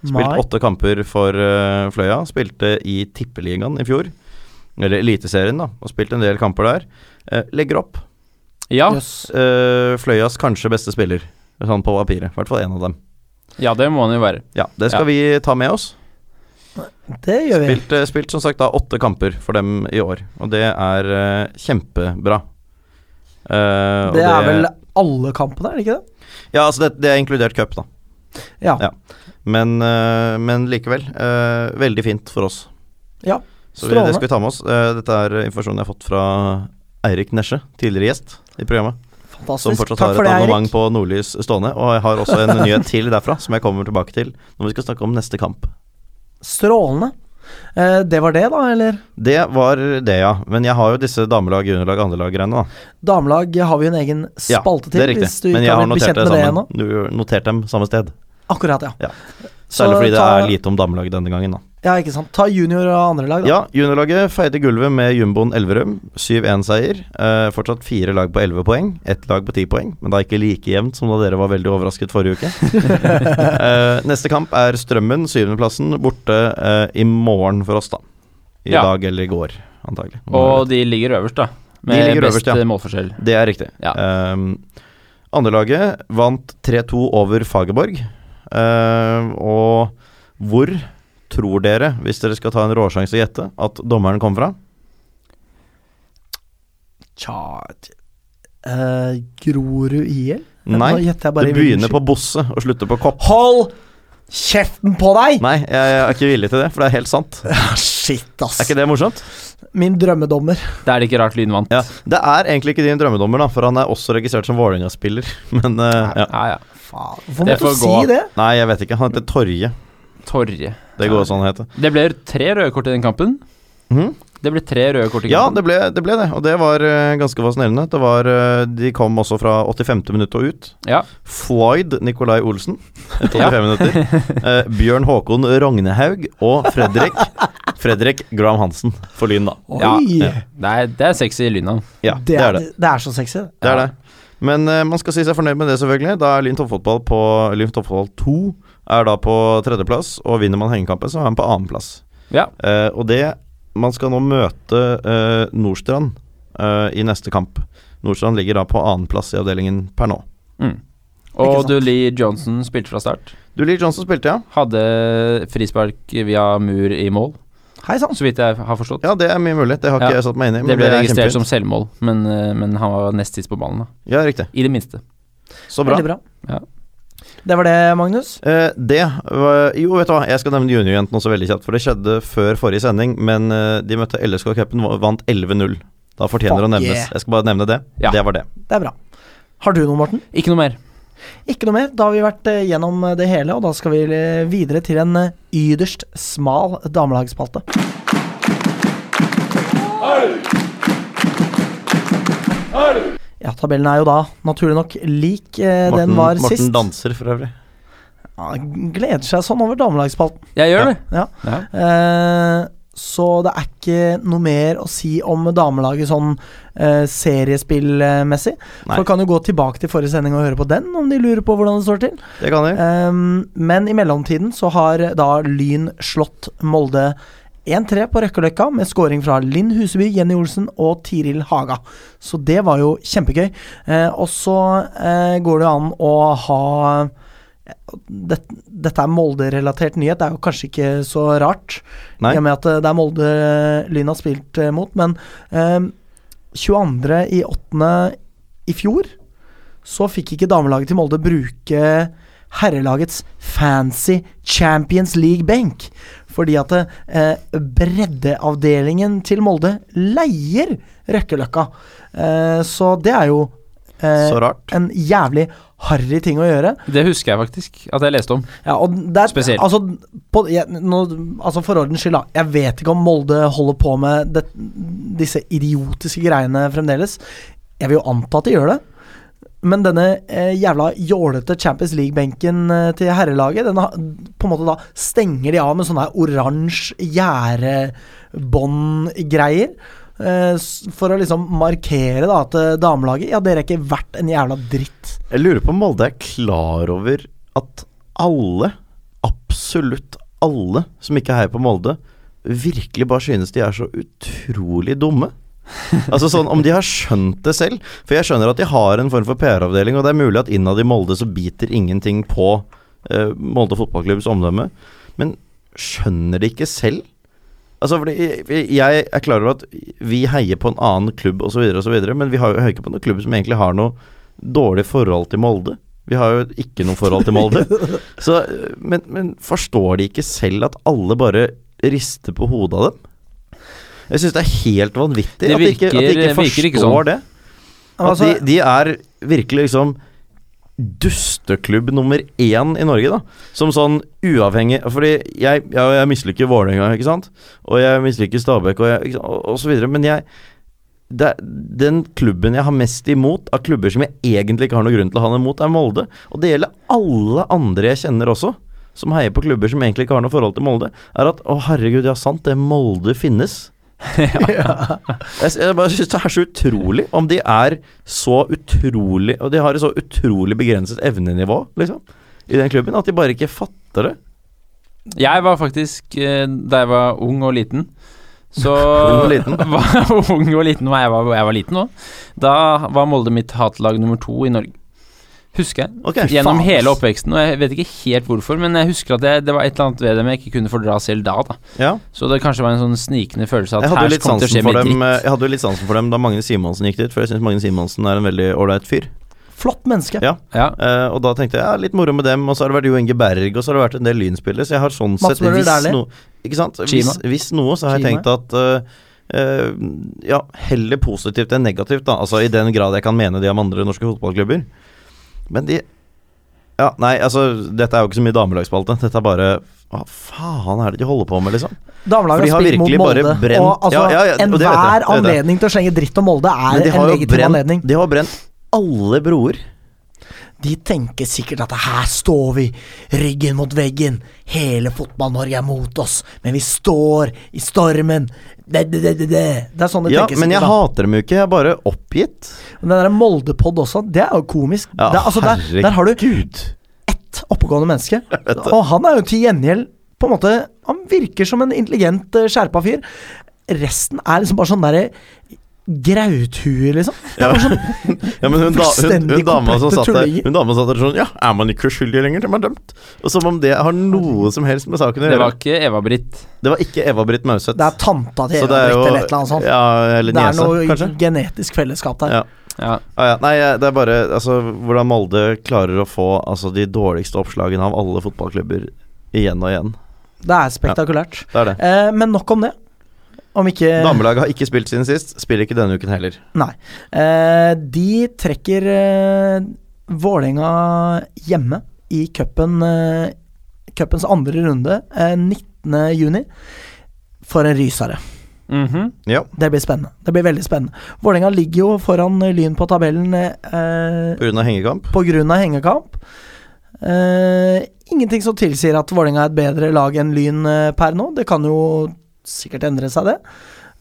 Speaker 1: Spilt
Speaker 2: Nei.
Speaker 1: åtte kamper for eh, Fløya. Spilte i Tippeligaen i fjor. Eller Eliteserien, da. Og spilt en del kamper der. Eh, legger opp
Speaker 3: Ja.
Speaker 2: Jøss.
Speaker 1: eh, Fløyas kanskje beste spiller, sånn på papiret. I hvert fall én av dem.
Speaker 3: ja, det må han jo være.
Speaker 1: Ja, Det skal
Speaker 3: Ja.
Speaker 1: vi ta med oss.
Speaker 2: Det gjør vi.
Speaker 1: Spilt, eh, spilt som sagt da åtte kamper for dem i år, og det er eh, kjempebra. Eh, og eh,
Speaker 2: Det er vel alle kampene, er det ikke det?
Speaker 1: Ja, altså det, det er inkludert cup, da.
Speaker 2: Ja.
Speaker 1: Ja. Men, eh, men likevel, eh, veldig fint for oss.
Speaker 2: Ja,
Speaker 1: Så vi, det
Speaker 2: strålende.
Speaker 1: skal vi ta med oss. Eh, dette er informasjonen jeg har fått fra Eirik Nesje, tidligere gjest i programmet. Som
Speaker 2: Fantastisk.
Speaker 1: fortsatt
Speaker 2: Takk
Speaker 1: har
Speaker 2: for
Speaker 1: et
Speaker 2: det,
Speaker 1: abonnement
Speaker 2: Eirik.
Speaker 1: på Nordlys stående. Og jeg har også en nyhet til derfra, som jeg kommer tilbake til når vi skal snakke om neste kamp.
Speaker 2: Strålende. Eh, det var det, da, eller?
Speaker 1: Det var det, ja. Men jeg har jo disse damelag, juniorlag, andrelag-greiene, da.
Speaker 2: Damelag har vi jo en egen
Speaker 1: Ja,
Speaker 2: spalte til.
Speaker 1: det er riktig.
Speaker 2: hvis du ikke
Speaker 1: Men jeg
Speaker 2: har
Speaker 1: har
Speaker 2: blitt
Speaker 1: notert
Speaker 2: bekjent
Speaker 1: det
Speaker 2: med det
Speaker 1: sammen.
Speaker 2: ennå.
Speaker 1: Du notert dem samme sted.
Speaker 2: Akkurat, ja.
Speaker 1: Ja. Særlig
Speaker 2: Så
Speaker 1: fordi det
Speaker 2: ta-
Speaker 1: er lite om damelag denne gangen, da.
Speaker 2: Ja, ikke sant. Ta junior og andre lag, da.
Speaker 1: Ja, juniorlaget feide gulvet med jumboen Elverum. 7-1-seier. Eh, fortsatt fire lag på 11 poeng. Ett lag på 10 poeng, men da ikke like jevnt som da dere var veldig overrasket forrige uke. eh, neste kamp er Strømmen, syvendeplassen, borte eh, i morgen for oss, da. I
Speaker 3: Ja.
Speaker 1: dag eller i går, antagelig.
Speaker 3: Og de ligger øverst, da. Med
Speaker 1: ligger
Speaker 3: best
Speaker 1: øverst, ja.
Speaker 3: eh, målforskjell.
Speaker 1: Det er riktig.
Speaker 3: Ja.
Speaker 1: Ehm, Andrelaget vant 3-2 over Fagerborg. Ehm, og hvor tror dere, hvis dere skal ta en råsjanse og gjette, at dommeren kom fra?
Speaker 2: Tja eh, Grorud IL?
Speaker 1: Nei,
Speaker 2: Nå gjetter jeg bare
Speaker 1: det
Speaker 2: i hvilken
Speaker 1: begynner
Speaker 2: sky-
Speaker 1: på Bosse og slutter på Kopp.
Speaker 2: Hold kjeften på deg!
Speaker 1: Nei, jeg, jeg er ikke villig til det, for det er helt sant. Er
Speaker 2: Ah, shit, ass.
Speaker 1: ikke det morsomt?
Speaker 2: Min drømmedommer.
Speaker 3: Det er det ikke rart Lyn vant.
Speaker 1: Ja. Det er egentlig ikke din drømmedommer, da, for han er også registrert som Vålerenga-spiller. Men eh, ja.
Speaker 3: Ja, ja.
Speaker 2: Faen, hvorfor måtte
Speaker 3: Det får
Speaker 2: du si
Speaker 3: gå.
Speaker 2: det?
Speaker 1: Nei, jeg vet ikke. Han heter Torje.
Speaker 3: Torje.
Speaker 1: Det går sånn det heter.
Speaker 3: Det ble tre røde kort i den kampen.
Speaker 1: Mhm.
Speaker 3: Det ble tre røde kort i
Speaker 1: Ja,
Speaker 3: kampen.
Speaker 1: det ble, det ble det, og det var eh, ganske fascinerende. Det var, eh, de kom også fra 85. minutt og ut.
Speaker 3: Ja.
Speaker 1: Floyd Nicolai Olsen etter
Speaker 3: Ja.
Speaker 1: 85 minutter. Eh, Bjørn Håkon Rognehaug og Fredrik Fredrik Graham Hansen for Lyn, da.
Speaker 2: Oi!
Speaker 3: Ja, Det, er, det er sexy Lynnavn.
Speaker 1: Ja, det er det.
Speaker 2: Det er så sexy.
Speaker 1: det, er det. Men eh, man skal si seg fornøyd med det, selvfølgelig. Da er Lyn toppfotball på Lyn toppfotball 2 er da på tredjeplass, og vinner man hengekampen, så er man på annenplass.
Speaker 3: Ja.
Speaker 1: Eh, og det Man skal nå møte eh, Nordstrand eh, i neste kamp. Nordstrand ligger da på annenplass i avdelingen per nå.
Speaker 3: Mm.
Speaker 2: Ikke
Speaker 3: Og
Speaker 2: sant.
Speaker 3: Dulee Johnson spilte fra start.
Speaker 1: Dulee Johnson spilte, ja.
Speaker 3: Hadde frispark via mur i mål,
Speaker 2: Hei sann.
Speaker 3: så vidt jeg har forstått.
Speaker 1: Ja, det er mye mulig. Det har
Speaker 3: Ja.
Speaker 1: ikke jeg satt meg inn i.
Speaker 3: det
Speaker 1: men
Speaker 3: ble
Speaker 1: er
Speaker 3: registrert som
Speaker 1: kjempefint.
Speaker 3: selvmål, men, eh, men han var nest sist på ballen, da.
Speaker 1: Ja, riktig.
Speaker 3: I det minste.
Speaker 1: Så bra.
Speaker 2: Veldig bra.
Speaker 3: Ja.
Speaker 2: Det var det, Magnus.
Speaker 1: Eh, det var, Jo, vet du hva, jeg skal nevne juniorjentene også veldig kjapt, for det skjedde før forrige sending, men eh, de møtte LSK Cupen og vant 11-0. Da fortjener det å
Speaker 2: Fuck
Speaker 1: nevnes.
Speaker 2: yeah.
Speaker 1: Jeg skal bare nevne det.
Speaker 3: Ja.
Speaker 1: Det var det.
Speaker 2: Det er bra. Har du noe, Morten?
Speaker 3: Ikke noe mer.
Speaker 2: Ikke noe mer. Da har vi vært eh, gjennom eh, det hele, og da skal vi eh, videre til en eh, yderst smal damelagsspalte. Ja, tabellen er jo da naturlig nok lik eh,
Speaker 1: Morten,
Speaker 2: den var
Speaker 1: Morten
Speaker 2: sist.
Speaker 1: danser for øvrig.
Speaker 2: Ja, gleder seg sånn over damelagsspalten.
Speaker 3: Jeg
Speaker 1: Ja.
Speaker 3: gjør det.
Speaker 2: Ja.
Speaker 3: Ja.
Speaker 2: Eh, så det er ikke noe mer å si om damelaget sånn eh, seriespillmessig.
Speaker 1: Nei.
Speaker 2: Folk kan jo gå tilbake til forrige sending og høre på den om de lurer på hvordan det står til.
Speaker 1: Det kan de.
Speaker 2: Ehm, men i mellomtiden så har da Lyn slått Molde 1-3 på Røkkeløkka med scoring fra Linn Huseby, Jenny Olsen og Tiril Haga. Så det var jo kjempegøy. Eh, og så eh, går det jo an å ha det, Dette er Molde-relatert nyhet, det er jo kanskje ikke så rart.
Speaker 1: Nei.
Speaker 2: I og med at eh, det er Molde eh, Lyn har spilt eh, mot. Men eh, 22. i 8. i fjor så fikk ikke damelaget til Molde bruke herrelagets fancy Champions League-benk. Fordi at eh, breddeavdelingen til Molde leier Røkkeløkka. Eh, så det er jo eh,
Speaker 1: Så rart.
Speaker 2: en jævlig harry ting å gjøre.
Speaker 3: Det husker jeg faktisk at jeg leste om.
Speaker 2: Ja, og det er,
Speaker 3: Spesielt.
Speaker 2: Altså, på, jeg, nå, altså for ordens skyld, da. Jeg vet ikke om Molde holder på med det, disse idiotiske greiene fremdeles. Jeg vil jo anta at de gjør det. Men denne eh, jævla jålete Champions League-benken eh, til herrelaget, den har, på en måte da stenger de av med sånne her oransje gjerdebåndgreier. Eh, s- for å liksom markere da at eh, damelaget Ja, dere er ikke verdt en jævla dritt.
Speaker 1: Jeg lurer på om Molde er klar over at alle, absolutt alle som ikke heier på Molde, virkelig bare synes de er så utrolig dumme. altså sånn, Om de har skjønt det selv. For jeg skjønner at de har en form for PR-avdeling, og det er mulig at innad i Molde så biter ingenting på eh, Molde fotballklubbs omdømme. Men skjønner de ikke selv? Altså, fordi jeg- Jeg er klar over at vi heier på en annen klubb osv., men vi har jo heier ikke på noen klubb som egentlig har noe dårlig forhold til Molde. Vi Vi har jo ikke noe forhold til Molde. Så, men, men forstår de ikke selv at alle bare rister på hodet av dem? Jeg syns det er helt vanvittig
Speaker 3: Det
Speaker 1: at, de ikke, at de
Speaker 3: virker-
Speaker 1: ikke
Speaker 3: virker
Speaker 1: forstår
Speaker 3: ikke sånn.
Speaker 1: det. At
Speaker 2: Altså,
Speaker 1: de, de er virkelig liksom Dusteklubb nummer én i Norge, da. Som sånn uavhengig Fordi jeg, jeg, jeg misliker Vålerenga, ikke sant? Og jeg misliker Stabæk og, jeg, ikke sant? og, og så videre. Men jeg det, er- Den klubben jeg har mest imot av klubber som jeg egentlig ikke har noen grunn til å ha noe imot, er Molde. Og det gjelder alle andre jeg kjenner også, som heier på klubber som egentlig ikke har noe forhold til Molde. Er at å herregud, ja sant, det Molde finnes. Jeg, jeg bare synes det er så utrolig om de er så utrolig Og de har et så utrolig begrenset evnenivå, liksom, i den klubben, at de bare ikke fatter det.
Speaker 3: Jeg var faktisk, eh, da jeg var ung og liten Så
Speaker 1: og liten.
Speaker 3: var ung og liten var jeg, var, jeg var liten òg. Da var Molde mitt hatlag nummer to i Norge. Husker jeg.
Speaker 1: Ok,
Speaker 3: Gjennom
Speaker 1: faen.
Speaker 3: hele oppveksten, og jeg vet ikke helt hvorfor, men jeg husker at det, det var et eller annet ved dem jeg ikke kunne fordra selv da. da
Speaker 1: Ja.
Speaker 3: Så det kanskje var en sånn snikende følelse at
Speaker 1: Jeg hadde, jo
Speaker 3: her
Speaker 1: litt
Speaker 3: kommer det
Speaker 1: sansen
Speaker 3: til å skje
Speaker 1: for
Speaker 3: mye
Speaker 1: dem,
Speaker 3: dritt.
Speaker 1: eh, jeg hadde jo litt sansen for dem da Magne Simonsen gikk dit, for jeg syns Magne Simonsen er en veldig ålreit fyr.
Speaker 2: flott menneske.
Speaker 1: Ja.
Speaker 3: Ja.
Speaker 1: Eh, og da tenkte jeg ja, litt moro med dem, og så har det vært Jo Inge Berg, og så har det vært en del lynspillere, så jeg har sånn
Speaker 2: Mats
Speaker 1: sett
Speaker 2: Møller
Speaker 1: hvis
Speaker 2: Dæhlie.
Speaker 1: noe Ikke sant? Hvis,
Speaker 3: Chima.
Speaker 1: hvis noe, så har jeg
Speaker 2: Chima.
Speaker 1: tenkt at eh, eh, Ja, heller positivt enn negativt, da. Altså i den grad jeg kan mene det om andre norske fotballklubber. Men de Ja, nei, altså dette er jo ikke så mye damelagsspalte. Dette er bare Hva faen er det de holder på med, liksom? For
Speaker 2: Damelaget
Speaker 1: de
Speaker 2: har
Speaker 1: har
Speaker 2: spilt mot
Speaker 1: virkelig bare
Speaker 2: Molde,
Speaker 1: brent-
Speaker 2: og altså,
Speaker 1: Ja, ja, ja, og det vet jeg,
Speaker 2: enhver
Speaker 1: det vet jeg.
Speaker 2: anledning til å slenge dritt om Molde
Speaker 1: Men de
Speaker 2: er en
Speaker 1: har jo
Speaker 2: legitim
Speaker 1: brent,
Speaker 2: anledning.
Speaker 1: de har brent alle broer.
Speaker 2: De tenker sikkert at her står vi, ryggen mot veggen, hele Fotball-Norge er mot oss, men vi står i stormen. Det, det, det, det, det. det er sånn de
Speaker 1: Ja,
Speaker 2: tenker
Speaker 1: men jeg
Speaker 2: sikkert. da.
Speaker 1: hater dem jo ikke. Jeg er bare oppgitt.
Speaker 2: Men Den der Molde-pod også, det er jo komisk.
Speaker 1: Ja,
Speaker 2: det er, altså, der, der har du
Speaker 1: herregud.
Speaker 2: ett oppegående menneske, og han er jo til gjengjeld på en måte Han virker som en intelligent, eh, skjerpa fyr. Resten er liksom bare sånn derre grauthuer, liksom. Det er bare sånn
Speaker 1: Ja, men hun, da, hun, hun,
Speaker 2: Fullstendig
Speaker 1: dama som
Speaker 2: komplette
Speaker 1: satt der,
Speaker 2: tullinger.
Speaker 1: hun dama som satt der sånn Ja, er man ikke uskyldig lenger til man er dømt? Og Som om det har noe som helst med saken å
Speaker 3: Det
Speaker 1: gjøre.
Speaker 3: var ikke Eva-Britt.
Speaker 1: Det var ikke Eva-Britt Mauseth.
Speaker 2: Det er tanta til
Speaker 1: Så det
Speaker 2: Eva
Speaker 1: er jo-
Speaker 2: Britt eller et eller annet sånt.
Speaker 1: Ja, eller
Speaker 2: det er
Speaker 1: niese,
Speaker 2: noe
Speaker 1: kanskje.
Speaker 2: genetisk fellesskap der.
Speaker 1: Ja.
Speaker 3: Ja.
Speaker 1: Ja, ja. Nei, jeg- det er bare altså, hvordan Molde klarer å få altså, de dårligste oppslagene av alle fotballklubber igjen og igjen.
Speaker 2: Det er spektakulært.
Speaker 1: Det er det.
Speaker 2: Eh, men nok om det. Om ikke
Speaker 1: Damelaget har ikke spilt siden sist, spiller ikke denne uken heller.
Speaker 2: Nei. Eh, de trekker eh, Vålerenga hjemme i cupen. Eh, cupens andre runde eh, 19. juni. For en rysere.
Speaker 3: Mhm.
Speaker 1: Ja,
Speaker 2: Det blir spennende. Det blir veldig spennende. Vålerenga ligger jo foran Lyn på tabellen eh,
Speaker 1: pga. hengekamp.
Speaker 2: på grunn av hengekamp. Eh, ingenting som tilsier at Vålerenga er et bedre lag enn Lyn eh, per nå. Det kan jo sikkert endre seg, det.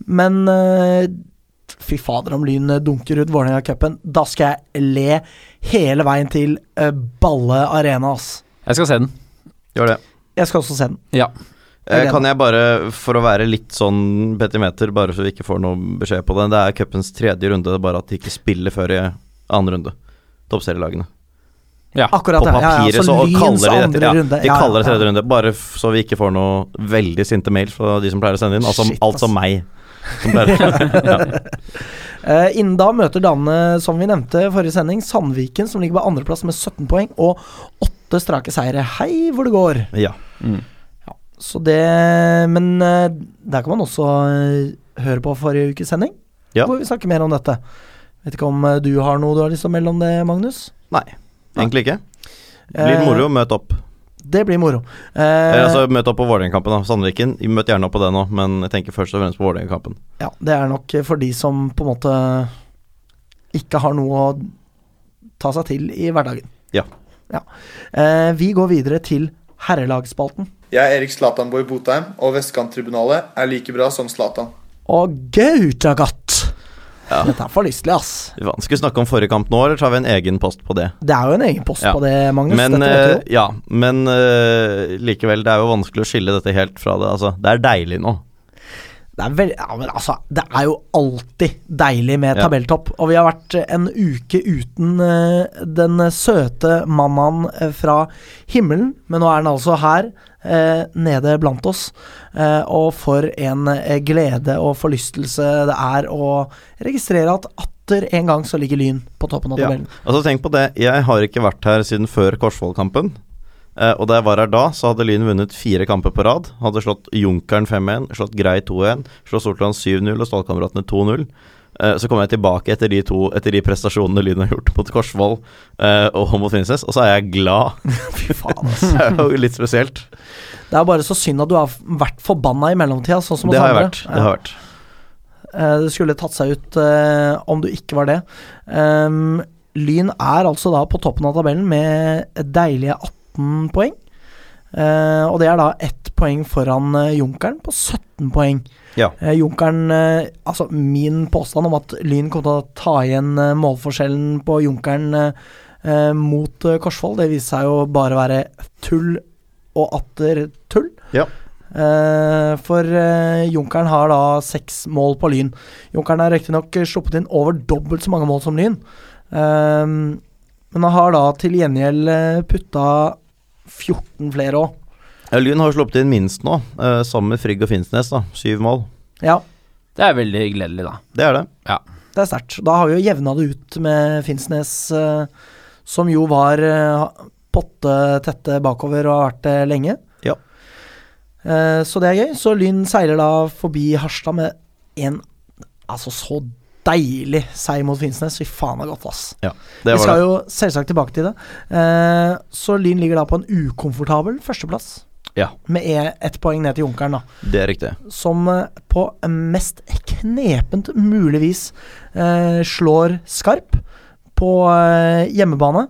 Speaker 2: Men eh, fy fader, om Lyn eh, dunker ut Vålerenga-cupen, da skal jeg le hele veien til eh, Balle arena, ass.
Speaker 3: Jeg skal se den.
Speaker 1: Gjør det.
Speaker 2: Jeg skal også se den.
Speaker 1: Eh,
Speaker 2: Helene.
Speaker 1: Kan jeg bare, for å være litt sånn petimeter, bare så vi ikke får noe beskjed på det Det er cupens tredje runde, det er bare at de ikke spiller før i annen runde. Toppserielagene.
Speaker 3: Ja.
Speaker 2: Akkurat
Speaker 1: På
Speaker 2: det. Ja,
Speaker 1: papiret
Speaker 2: ja,
Speaker 1: så kaller de
Speaker 2: andre
Speaker 1: dette ja,
Speaker 2: runde.
Speaker 1: De
Speaker 2: Ja, ja,
Speaker 1: kaller det
Speaker 2: ja.
Speaker 1: tredje runde, bare f- så vi ikke får noe veldig sinte mail fra de som pleier å sende inn. Altså,
Speaker 2: Shit, ass.
Speaker 1: altså meg. Som pleier.
Speaker 2: Eh, innen da møter damene, som vi nevnte i forrige sending, Sandviken, som ligger på andreplass med 17 poeng og åtte strake seire. Hei hvor det går!
Speaker 1: ja.
Speaker 3: Mm.
Speaker 2: Så det Men eh, der kan man også eh, høre på forrige ukes sending,
Speaker 1: Ja.
Speaker 2: hvor vi snakker mer om dette. Vet ikke om eh, du har noe du har lyst til å melde om det, Magnus?
Speaker 1: Nei, egentlig ikke.
Speaker 2: Eh,
Speaker 1: Blir moro, møt opp.
Speaker 2: Det blir moro. Eh,
Speaker 1: Eller altså, møt opp på Vålerenga-kampen, da. Sandviken, møt gjerne opp på det nå, men jeg tenker først og fremst på Vålerenga-kampen.
Speaker 2: Ja, det er nok for de som på en måte ikke har noe å ta seg til i hverdagen.
Speaker 1: Ja.
Speaker 2: ja. Eh, vi går videre til herrelagsspalten.
Speaker 5: Jeg er Erik Zlatanborg Botheim, og Vestkanttribunalet er like bra som Zlatan.
Speaker 2: Og gautagatt! Dette er for lystelig, ass.
Speaker 1: Fy faen, Skal vi snakke om forrige kamp nå, eller tar vi en egen post på det?
Speaker 2: Det er jo en egen post
Speaker 1: Ja.
Speaker 2: på det, Magnus.
Speaker 1: Men,
Speaker 2: Dette vet du
Speaker 1: eh,
Speaker 2: jo.
Speaker 1: ja, men eh, likevel, det er jo vanskelig å skille dette helt fra det. Altså, det er deilig nå.
Speaker 2: Det er, vel, ja, men altså, det er jo alltid deilig med
Speaker 1: Ja.
Speaker 2: tabelltopp. Og vi har vært eh, en uke uten eh, den søte mannaen eh, fra himmelen, men nå er den altså her, eh, nede blant oss. Eh, og for en eh, glede og forlystelse det er å registrere at atter bytter én gang, så ligger Lyn på toppen av
Speaker 1: Ja.
Speaker 2: tabellen.
Speaker 1: Altså tenk på det, jeg har ikke vært her siden før Korsvoll-kampen. Eh, og da jeg var her da, så hadde Lyn vunnet fire kamper på rad. Hadde slått Junkeren 5-1, slått Grei 2-1, slått Sortland 7-0 og Stålkameratene 2-0. Eh, så kom jeg tilbake etter de, to, etter de prestasjonene Lyn har gjort mot Korsvoll eh, og mot Finnsnes, og så er jeg glad.
Speaker 2: Fy faen, ass.
Speaker 1: det er jo litt spesielt.
Speaker 2: Det er bare så synd at du har f- vært forbanna i mellomtida, sånn som
Speaker 1: Det
Speaker 2: oss
Speaker 1: har jeg
Speaker 2: andre.
Speaker 1: vært. Det har jeg vært.
Speaker 2: Eh, Det skulle tatt seg ut eh, om du ikke var det. Ehm, Lyn er altså da på toppen av tabellen med deilige 18 poeng. Eh, og det er da ett poeng foran eh, Junkeren på 17 poeng.
Speaker 1: Ja.
Speaker 2: Eh, Junkeren eh, Altså, min påstand om at Lyn kommer til å ta igjen eh, målforskjellen på Junkeren eh, eh, mot eh, Korsvoll, det viser seg jo bare å være tull og atter tull.
Speaker 1: Ja.
Speaker 2: Eh, for eh, Junkeren har da seks mål på Lyn. Junkeren har riktignok sluppet inn over dobbelt så mange mål som Lyn. Eh, men han har da til gjengjeld eh, putta 14 flere òg.
Speaker 1: Ja, Lyn har jo sluppet inn minst nå, eh, sammen med Frigg og Finnsnes. da, Syv mål.
Speaker 2: Ja,
Speaker 3: Det er veldig gledelig, da.
Speaker 1: Det er det.
Speaker 2: det er sterkt. Da har vi jo jevna det ut med Finnsnes, eh, som jo var eh, potte tette bakover og har vært det lenge.
Speaker 1: Ja.
Speaker 2: Eh, så det er gøy. Så Lyn seiler da forbi Harstad med en altså så deilig seier mot Finnsnes. Fy faen, det er godt, ass.
Speaker 1: det
Speaker 2: Vi
Speaker 1: var
Speaker 2: skal
Speaker 1: det.
Speaker 2: jo selvsagt tilbake til det. Eh, så Lyn ligger da på en ukomfortabel førsteplass.
Speaker 1: Ja.
Speaker 2: Med e- ett poeng ned til Junkeren, da.
Speaker 1: Det er riktig.
Speaker 2: Som eh, på mest knepent mulig vis eh, slår Skarp på eh, hjemmebane.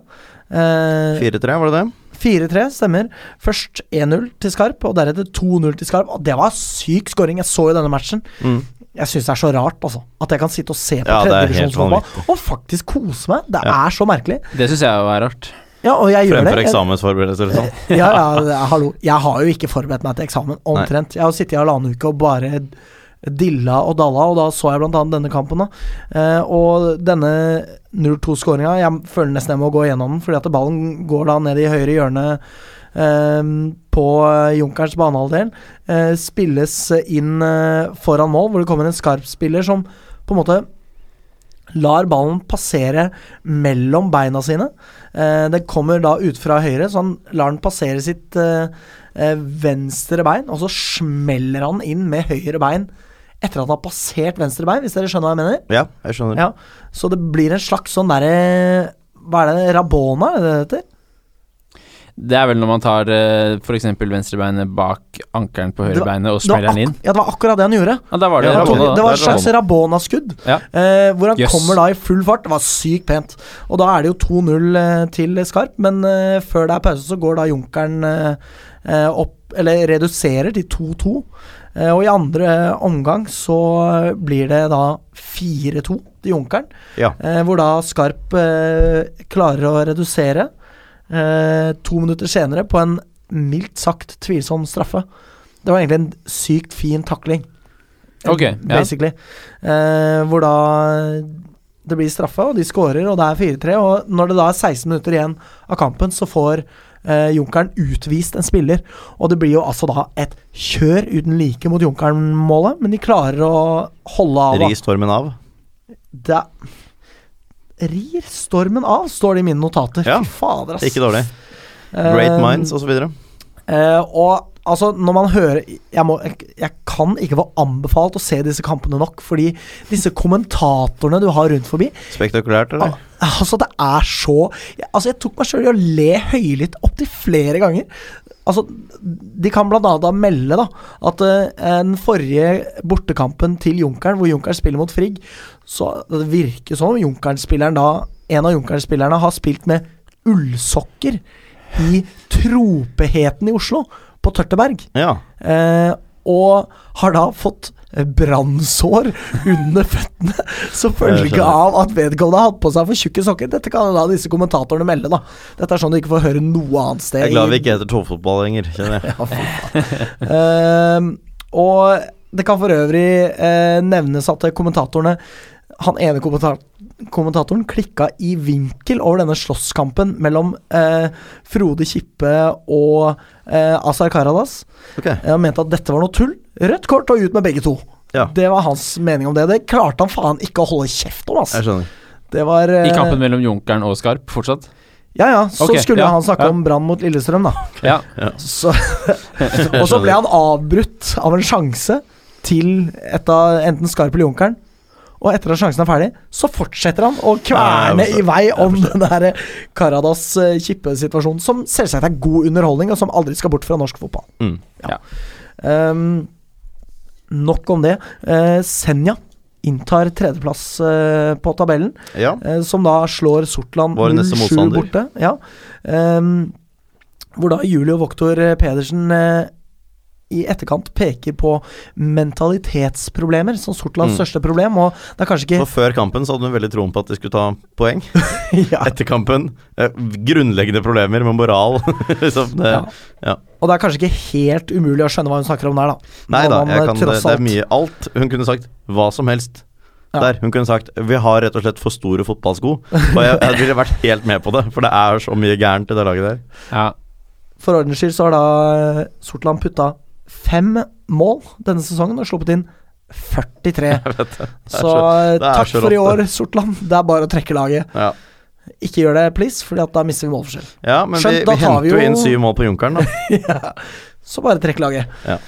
Speaker 2: Eh,
Speaker 1: 4-3, var det det?
Speaker 2: 4-3, stemmer. Først 1-0 til Skarp, og deretter 2-0 til Skarp. Og det var syk scoring. Jeg så jo denne matchen.
Speaker 1: Mm.
Speaker 2: Jeg syns det er så rart, altså. At jeg kan sitte og se på
Speaker 1: Ja, det er helt
Speaker 2: tredjedivisjonsfotball og faktisk kose meg. Det
Speaker 1: Ja.
Speaker 2: er så merkelig.
Speaker 3: Det syns jeg jo er rart.
Speaker 2: Ja, og jeg gjør det.
Speaker 1: Fremfor
Speaker 2: Jeg-
Speaker 1: eksamensforberedelser og sånn.
Speaker 2: ja, ja, det er- hallo. Jeg har jo ikke forberedt meg til eksamen, omtrent. Jeg har jo sittet i halvannen uke og bare dilla og dalla, og da så jeg blant annet denne kampen, da. Eh, og denne 0-2-skåringa, jeg føler nesten jeg må gå gjennom den, fordi at ballen går da ned i høyre hjørne eh, på eh, Junkerens banehalvdel. Eh, spilles inn eh, foran mål, hvor det kommer en skarp spiller som på en måte lar ballen passere mellom beina sine. Eh, den kommer da ut fra høyre, så han lar den passere sitt eh, eh, venstre bein, og så smeller han inn med høyre bein etter at han har passert venstre bein, hvis dere skjønner hva jeg mener.
Speaker 1: Ja, jeg skjønner.
Speaker 2: Ja, Så det blir en slags sånn derre Hva er det? Rabona, er det det heter?
Speaker 3: Det er vel når man tar eh, for f.eks. venstrebeinet bak ankelen på
Speaker 2: Det var-
Speaker 3: høyrebeinet og
Speaker 2: Det var
Speaker 3: smeller den inn.
Speaker 2: ak- Ja, det var akkurat det han gjorde.
Speaker 3: Ja, da var det
Speaker 1: Ja,
Speaker 2: Det
Speaker 3: Rabona,
Speaker 2: var,
Speaker 1: Rabona,
Speaker 2: det var et
Speaker 1: Det er
Speaker 2: slags Rabona-skudd,
Speaker 3: Ja.
Speaker 2: eh, hvor han
Speaker 3: Jøss.
Speaker 2: kommer da i full fart. Det var sykt pent. Og da er det jo 2-0 eh, til Skarp, men eh, før det er pause, så går da Junkeren eh, eh, opp Eller reduserer til 2-2. Eh, og i andre eh, omgang så eh, blir det da 4-2 til Junkeren.
Speaker 1: Ja.
Speaker 2: Eh, hvor da Skarp eh, klarer å redusere eh, to minutter senere på en mildt sagt tvilsom straffe. Det var egentlig en sykt fin takling,
Speaker 3: Ok, ja.
Speaker 2: basically. Eh, hvor da det blir straffe, og de skårer, og det er 4-3. Og når det da er 16 minutter igjen av kampen, så får eh, Junkeren utvist en spiller. Og det blir jo altså da et kjør uten like mot Junkeren-målet, men de klarer å holde av. da.
Speaker 1: Ri stormen av.
Speaker 2: Det rir stormen av, står det i mine notater.
Speaker 1: Ja,
Speaker 2: Fy fader, ass.
Speaker 1: Ikke dårlig. Great
Speaker 2: Eh,
Speaker 1: minds osv.
Speaker 2: eh, og altså, når man hører jeg, må, jeg, jeg kan ikke få anbefalt å se disse kampene nok, fordi disse kommentatorene du har rundt forbi
Speaker 1: Spektakulært, eller?
Speaker 2: Altså, det er så jeg, Altså, jeg tok meg sjøl i å le høylytt opptil flere ganger. Altså, de kan blant annet da melde da at eh, den forrige bortekampen til Junkeren, hvor Junkeren spiller mot Frigg, så det virker som om Junkeren-spilleren da En av Junkeren-spillerne har spilt med ullsokker i tropeheten i Oslo, på Tørteberg.
Speaker 1: Ja.
Speaker 2: Eh, og har da fått eh, brannsår under føttene som
Speaker 1: Jeg
Speaker 2: følge
Speaker 1: skjønner.
Speaker 2: av at vedkommende har hatt på seg for tjukke sokker. Dette kan da disse kommentatorene melde, da. Dette er sånn du ikke får høre noe annet sted.
Speaker 1: Jeg er glad vi
Speaker 2: i-
Speaker 1: ikke heter toppfotball lenger, kjenner jeg.
Speaker 2: Ja, fy faen. Eh, og det kan for øvrig eh, nevnes at kommentatorene Han ene kommenta kommentatoren klikka i vinkel over denne slåsskampen mellom eh, Frode Kippe og eh, Azar Karadas.
Speaker 1: Ok.
Speaker 2: Jeg mente at dette var noe tull. Rødt kort og ut med begge to.
Speaker 1: Ja.
Speaker 2: Det var hans mening om det. Det klarte han faen ikke å holde kjeft om,
Speaker 1: Jeg
Speaker 2: altså.
Speaker 1: skjønner.
Speaker 2: Det var eh,
Speaker 3: I kampen mellom Junkeren og Skarp fortsatt?
Speaker 2: Ja ja, så
Speaker 3: Ok,
Speaker 2: skulle
Speaker 3: ja,
Speaker 2: han snakke
Speaker 3: ja.
Speaker 2: om Brann mot Lillestrøm, da.
Speaker 3: Ja.
Speaker 2: Så, og så ble han avbrutt av en sjanse til et av enten Skarp eller Junkeren. Og etter at sjansen er ferdig, så fortsetter han å kverne
Speaker 1: Nei, altså, jeg forstår.
Speaker 2: i vei om den der Karadas eh, kjippe situasjonen, som selvsagt er god underholdning, og som aldri skal bort fra norsk fotball.
Speaker 1: Mm.
Speaker 3: Ja.
Speaker 2: Ehm, nok om det. Eh, Senja inntar tredjeplass eh, på tabellen.
Speaker 1: Ja.
Speaker 2: Eh, som da slår Sortland
Speaker 1: Vår neste
Speaker 2: 0-7
Speaker 1: motstander.
Speaker 2: borte. Ja. Ehm, hvor da Julio Voktor eh, Pedersen eh, i etterkant peker på mentalitetsproblemer som Sortlands
Speaker 1: Mm.
Speaker 2: største problem, og det er kanskje
Speaker 1: For
Speaker 2: ikke
Speaker 1: før kampen så hadde hun veldig troen på at de skulle ta poeng.
Speaker 2: ja.
Speaker 1: Etter kampen eh, grunnleggende problemer med moral. liksom det,
Speaker 2: Ja. Og det er kanskje ikke helt umulig å skjønne hva hun snakker om der, da.
Speaker 1: Nei
Speaker 2: Når
Speaker 1: da,
Speaker 2: man, eh,
Speaker 1: jeg kan, det,
Speaker 2: tross
Speaker 1: det
Speaker 2: alt-
Speaker 1: er mye alt. Hun kunne sagt hva som helst.
Speaker 2: Ja.
Speaker 1: Der, Hun kunne sagt vi har rett og slett for store fotballsko. Og jeg, jeg ville vært helt med på det, for det er så mye gærent i det laget der.
Speaker 3: ja.
Speaker 2: For ordens skyld så har da eh, Sortland putta fem mål denne sesongen og sluppet inn 43.
Speaker 1: er
Speaker 2: Så eh,
Speaker 1: det er
Speaker 2: takk
Speaker 1: så
Speaker 2: for i
Speaker 1: rått,
Speaker 2: år, Sortland. Det er bare å trekke laget.
Speaker 1: Ja,
Speaker 2: Ikke gjør det, please, Fordi at da mister vi målforskjell.
Speaker 1: ja men
Speaker 2: Skjønt,
Speaker 1: vi,
Speaker 2: da
Speaker 1: vi
Speaker 2: tar
Speaker 1: henter
Speaker 2: vi
Speaker 1: jo
Speaker 2: jo-
Speaker 1: inn syv mål på Junkeren, da.
Speaker 2: ja. Så bare trekk laget.
Speaker 1: Ja.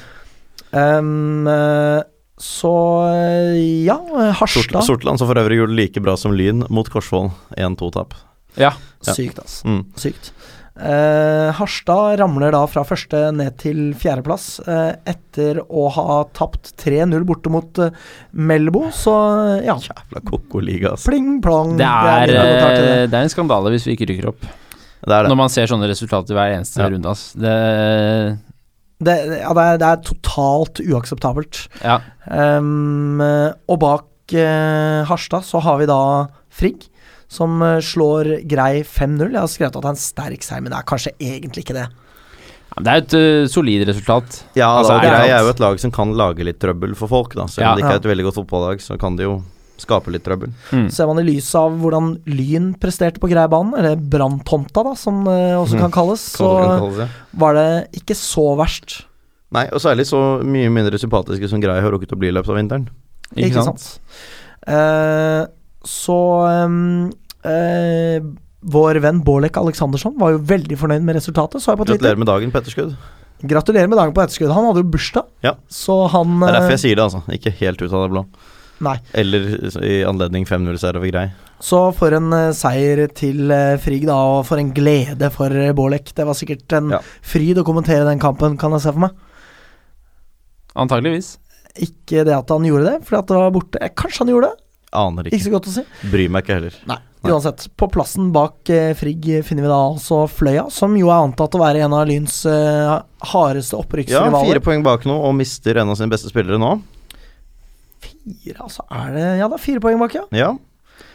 Speaker 2: Ehm, eh, så eh, ja, eh,
Speaker 1: Sort,
Speaker 2: Harstad.
Speaker 1: Sortland som for øvrig gjorde det like bra som Lyn mot Korsvoll. 1-2-tap.
Speaker 3: ja.
Speaker 1: ja.
Speaker 2: Sykt, altså.
Speaker 1: Mm.
Speaker 2: Sykt. Eh, Harstad ramler da fra første ned til fjerdeplass eh, etter å ha tapt 3-0 borte mot eh, Melbo, så eh, ja.
Speaker 1: Jævla altså. koko-liga, ass.
Speaker 2: Pling plong.
Speaker 3: Det er,
Speaker 2: min kommentar til det.
Speaker 3: eh, det er en skandale hvis vi ikke rykker opp.
Speaker 1: Det er det.
Speaker 3: Når man ser sånne resultater hver eneste
Speaker 1: Ja.
Speaker 3: runde, ass. Det,
Speaker 2: Det, ja, det, er, det er totalt uakseptabelt.
Speaker 3: ja.
Speaker 2: Ehm, og bak eh, Harstad så har vi da Frigg, som eh, slår grei 5-0. Jeg har skrevet at det er en sterk seier, men det er kanskje egentlig ikke det.
Speaker 3: Ja, men Det er jo et uh, solid resultat.
Speaker 1: Ja,
Speaker 3: Altså,
Speaker 1: da,
Speaker 3: er det
Speaker 1: Grei
Speaker 3: sant?
Speaker 1: er jo et lag som kan lage litt trøbbel for folk, da. Selv om
Speaker 3: Ja.
Speaker 1: det ikke
Speaker 2: Ja.
Speaker 1: er et veldig godt fotballag, så kan de jo skape litt trøbbel.
Speaker 3: Mm.
Speaker 2: Ser man i lys av hvordan Lyn presterte på Greibanen, eller Branntomta, da, som det også kan kalles,
Speaker 1: kan man kan
Speaker 2: så eh,
Speaker 1: kalle det.
Speaker 2: var det ikke så verst.
Speaker 1: Nei, og særlig så mye mindre sympatiske som Grei har rukket å bli i løpet av vinteren.
Speaker 3: Ikke, sant?
Speaker 2: Eh, så eh, eh, vår venn Bårlek Aleksandersson var jo veldig fornøyd med resultatet, så jeg på Twitter.
Speaker 1: Gratulerer med dagen, Petterskudd.
Speaker 2: Gratulerer med dagen på etterskudd. Han hadde jo bursdag,
Speaker 1: Ja.
Speaker 2: så han
Speaker 1: Det er derfor
Speaker 2: eh,
Speaker 1: jeg sier det, altså. Ikke helt ut av det blå.
Speaker 2: Nei.
Speaker 1: Eller i anledning 5-0-seier over Grei.
Speaker 2: Så for en eh, seier til eh, Frigg, da, og for en glede for eh, Bålek. Det var sikkert en
Speaker 1: Ja.
Speaker 2: fryd å kommentere den kampen, kan jeg se for meg.
Speaker 3: Antageligvis.
Speaker 2: Ikke det at han gjorde det, fordi at det var borte. Eh, Kanskje han gjorde det,
Speaker 1: Aner
Speaker 2: ikke
Speaker 1: ikke.
Speaker 2: så godt å si.
Speaker 1: Bryr meg ikke heller.
Speaker 2: Nei.
Speaker 1: Nei.
Speaker 2: Uansett, på plassen bak eh, Frigg eh, finner vi da altså Fløya, som jo er antatt å være en av Lyns eh, hardeste
Speaker 1: Ja,
Speaker 2: opprykksrivaler.
Speaker 1: fire poeng bak nå, og mister en av sine beste spillere nå.
Speaker 2: fire. altså er det Ja, det er fire poeng bak, ja.
Speaker 1: Ja,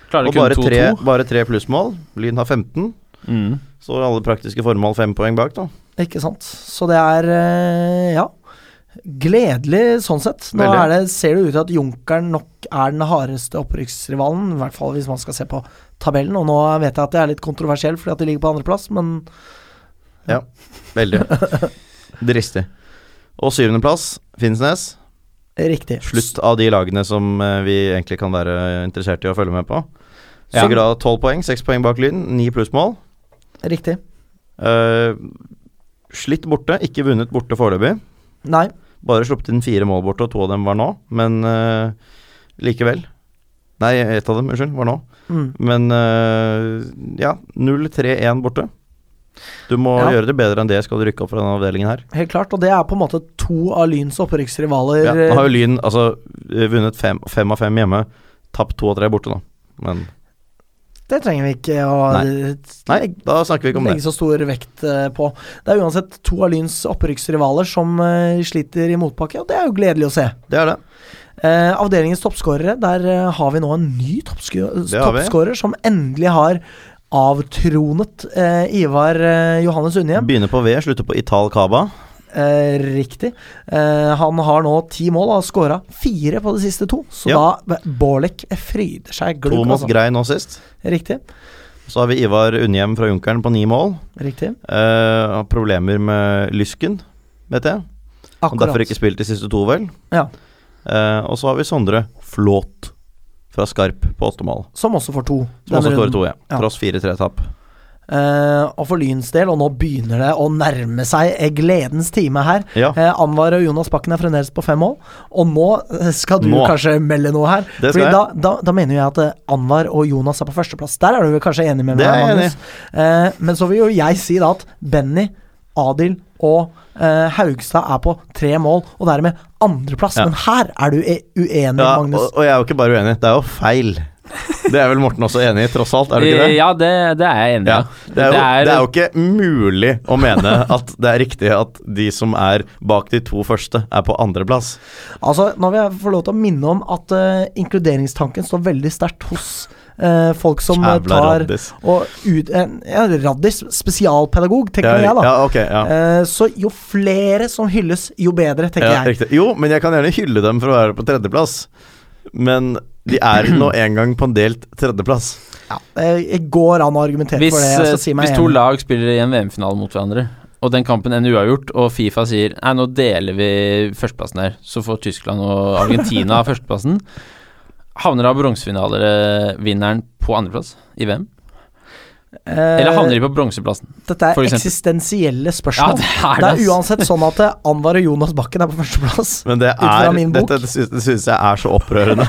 Speaker 3: Klarer
Speaker 1: Og
Speaker 3: kun
Speaker 1: bare tre,
Speaker 3: 2-2.
Speaker 1: bare tre plussmål. Lyn har 15.
Speaker 3: Mm.
Speaker 1: Så alle praktiske formål fem poeng bak, da.
Speaker 2: Ikke sant. Så det er eh, Ja. Gledelig sånn sett. Nå
Speaker 1: Veldig.
Speaker 2: er det, ser det ut til at Junkeren nok er den hardeste opprykksrivalen, i hvert fall hvis man skal se på tabellen. Og nå vet jeg at jeg er litt kontroversiell fordi at de ligger på andreplass, men
Speaker 1: Veldig. Dristig. Og syvendeplass, Finnsnes.
Speaker 2: riktig.
Speaker 1: Slutt av de lagene som eh, vi egentlig kan være interessert i å følge med på.
Speaker 3: Ja.
Speaker 1: Sigurd har tolv poeng, seks poeng bak Lyn, ni plussmål.
Speaker 2: Riktig.
Speaker 1: Eh, slitt borte, ikke vunnet borte foreløpig.
Speaker 2: Nei.
Speaker 1: Bare sluppet inn fire mål borte, og to av dem var nå, men eh, likevel. Nei, ett av dem, unnskyld, var nå.
Speaker 2: Mm.
Speaker 1: Men eh, ja, 0-3-1 borte. Du må
Speaker 2: Ja.
Speaker 1: gjøre det bedre enn det skal du rykke opp fra denne avdelingen her.
Speaker 2: Helt klart. Og det er på en måte to av Lyns opprykksrivaler.
Speaker 1: Ja, nå
Speaker 2: eh,
Speaker 1: har jo Lyn altså, vunnet fem, fem av fem hjemme, tapt to av tre borte, da. Men
Speaker 2: Det trenger vi ikke å
Speaker 1: nei, da snakker vi ikke om det.
Speaker 2: legge så stor vekt eh, på. Det er uansett to av Lyns opprykksrivaler som eh, sliter i motbakke, og det er jo gledelig å se.
Speaker 1: Det er det.
Speaker 2: Eh, avdelingens toppskårere, der eh, har vi nå en ny toppskå-
Speaker 1: Det har vi.
Speaker 2: toppskårer som endelig har avtronet eh, Ivar eh, Johannes Unnhjem.
Speaker 1: Begynner på V, slutter på Ital Kaba.
Speaker 2: Eh, riktig. Eh, han har nå ti mål og har skåra fire på de siste to, så
Speaker 1: Ja.
Speaker 2: da eh, Borlek fryder seg
Speaker 1: To
Speaker 2: glugg.
Speaker 1: mot
Speaker 2: Altså.
Speaker 1: Grei nå sist.
Speaker 2: Riktig.
Speaker 1: Så har vi Ivar Unnhjem fra Junkeren på ni mål.
Speaker 2: riktig
Speaker 1: Eh, har problemer med lysken, vet jeg. Han
Speaker 2: Akkurat.
Speaker 1: Derfor ikke spilt de siste to, vel.
Speaker 2: Ja.
Speaker 1: Eh, og så har vi Sondre Flåt fra Skarp på åttemål.
Speaker 2: Som også får to.
Speaker 1: Som
Speaker 2: denne
Speaker 1: også står i
Speaker 2: runden.
Speaker 1: to, ja.
Speaker 2: Ja.
Speaker 1: Tross fire-tre tap.
Speaker 2: Eh, og for Lyns del, og nå begynner det å nærme seg eh, gledens time her.
Speaker 1: Ja.
Speaker 2: Eh, Anwar og Jonas Bakken er fremdeles på fem mål, og nå eh, skal du
Speaker 1: Nå.
Speaker 2: kanskje melde noe her.
Speaker 1: Det skal
Speaker 2: Fordi
Speaker 1: jeg.
Speaker 2: da, da, da mener jo jeg at eh, Anwar og Jonas er på førsteplass. Der er du vel kanskje enig med
Speaker 1: Det
Speaker 2: meg,
Speaker 1: er jeg
Speaker 2: Magnus? Eh, men så vil jo jeg si da at Benny, Adil og eh, Haugstad er på tre mål, og dermed andreplass.
Speaker 1: Ja.
Speaker 2: Men her er du e uenig,
Speaker 1: Ja, og,
Speaker 2: Magnus.
Speaker 1: og jeg er jo ikke bare uenig, det er jo feil. Det er vel Morten også enig i, tross alt, er du ikke
Speaker 2: Eh,
Speaker 1: det?
Speaker 3: Eh, Ja, det, det er jeg enig i.
Speaker 1: Ja.
Speaker 3: ja.
Speaker 1: Det, er jo, det er jo ikke mulig å mene at det er riktig at de som er bak de to første, er på andreplass.
Speaker 2: Altså, nå vil jeg få lov til å minne om at eh, inkluderingstanken står veldig sterkt hos eh, folk som eh,
Speaker 1: Jævla
Speaker 2: tar
Speaker 1: raddis.
Speaker 2: og ut, en, ja, Raddis, spesialpedagog, tenker
Speaker 1: Ja,
Speaker 2: jeg da.
Speaker 1: ja, ok, ja.
Speaker 2: Eh, så jo flere som hylles, jo bedre, tenker
Speaker 1: Ja,
Speaker 2: jeg.
Speaker 1: riktig. Jo, men jeg kan gjerne hylle dem for å være på tredjeplass. Men de er nå engang på en delt tredjeplass.
Speaker 2: Eh, Jeg går an å argumentere
Speaker 3: Hvis,
Speaker 2: for det. Jeg skal si
Speaker 3: eh,
Speaker 2: meg
Speaker 3: hvis to
Speaker 2: enig.
Speaker 3: lag spiller i en VM-finale mot hverandre, og den kampen ender uavgjort, og Fifa sier Nei, nå deler vi førsteplassen her, så får Tyskland og Argentina førsteplassen. Havner da bronsefinalevinneren på andreplass i VM?
Speaker 2: Eh,
Speaker 3: Eller havner de på bronseplassen?
Speaker 2: Dette
Speaker 3: for
Speaker 2: er
Speaker 3: eksempel?
Speaker 2: eksistensielle
Speaker 3: Ja,
Speaker 2: spørsmål.
Speaker 3: det er
Speaker 2: det
Speaker 3: det.
Speaker 2: er
Speaker 3: ass.
Speaker 2: uansett sånn at eh, Anwar og Jonas Bakken er på førsteplass.
Speaker 1: Men det
Speaker 2: Ut fra
Speaker 1: er,
Speaker 2: min bok.
Speaker 1: dette syns, det syns jeg er så opprørende.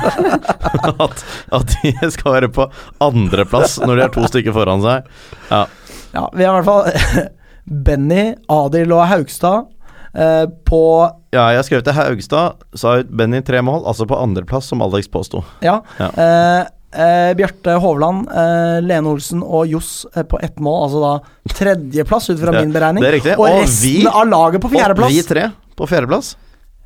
Speaker 1: at, at de skal være på andreplass når de er to stykker foran seg.
Speaker 2: Ja, vi har i hvert fall Benny, Adil og Haugstad eh, på
Speaker 1: Ja, jeg skrev til Haugstad, sa ut Benny tre mål, altså på andreplass, som Alex påsto.
Speaker 2: Ja.
Speaker 1: Ja.
Speaker 2: Eh, eh, Bjarte Hovland, eh, Lene Olsen og Johs eh, på ett mål, altså da tredjeplass ut fra
Speaker 1: Det-
Speaker 2: min beregning.
Speaker 1: det er riktig.
Speaker 2: Og,
Speaker 1: Og
Speaker 2: resten
Speaker 1: vi-
Speaker 2: av laget på
Speaker 1: Og vi
Speaker 2: fjerdeplass.
Speaker 1: tre på fjerdeplass.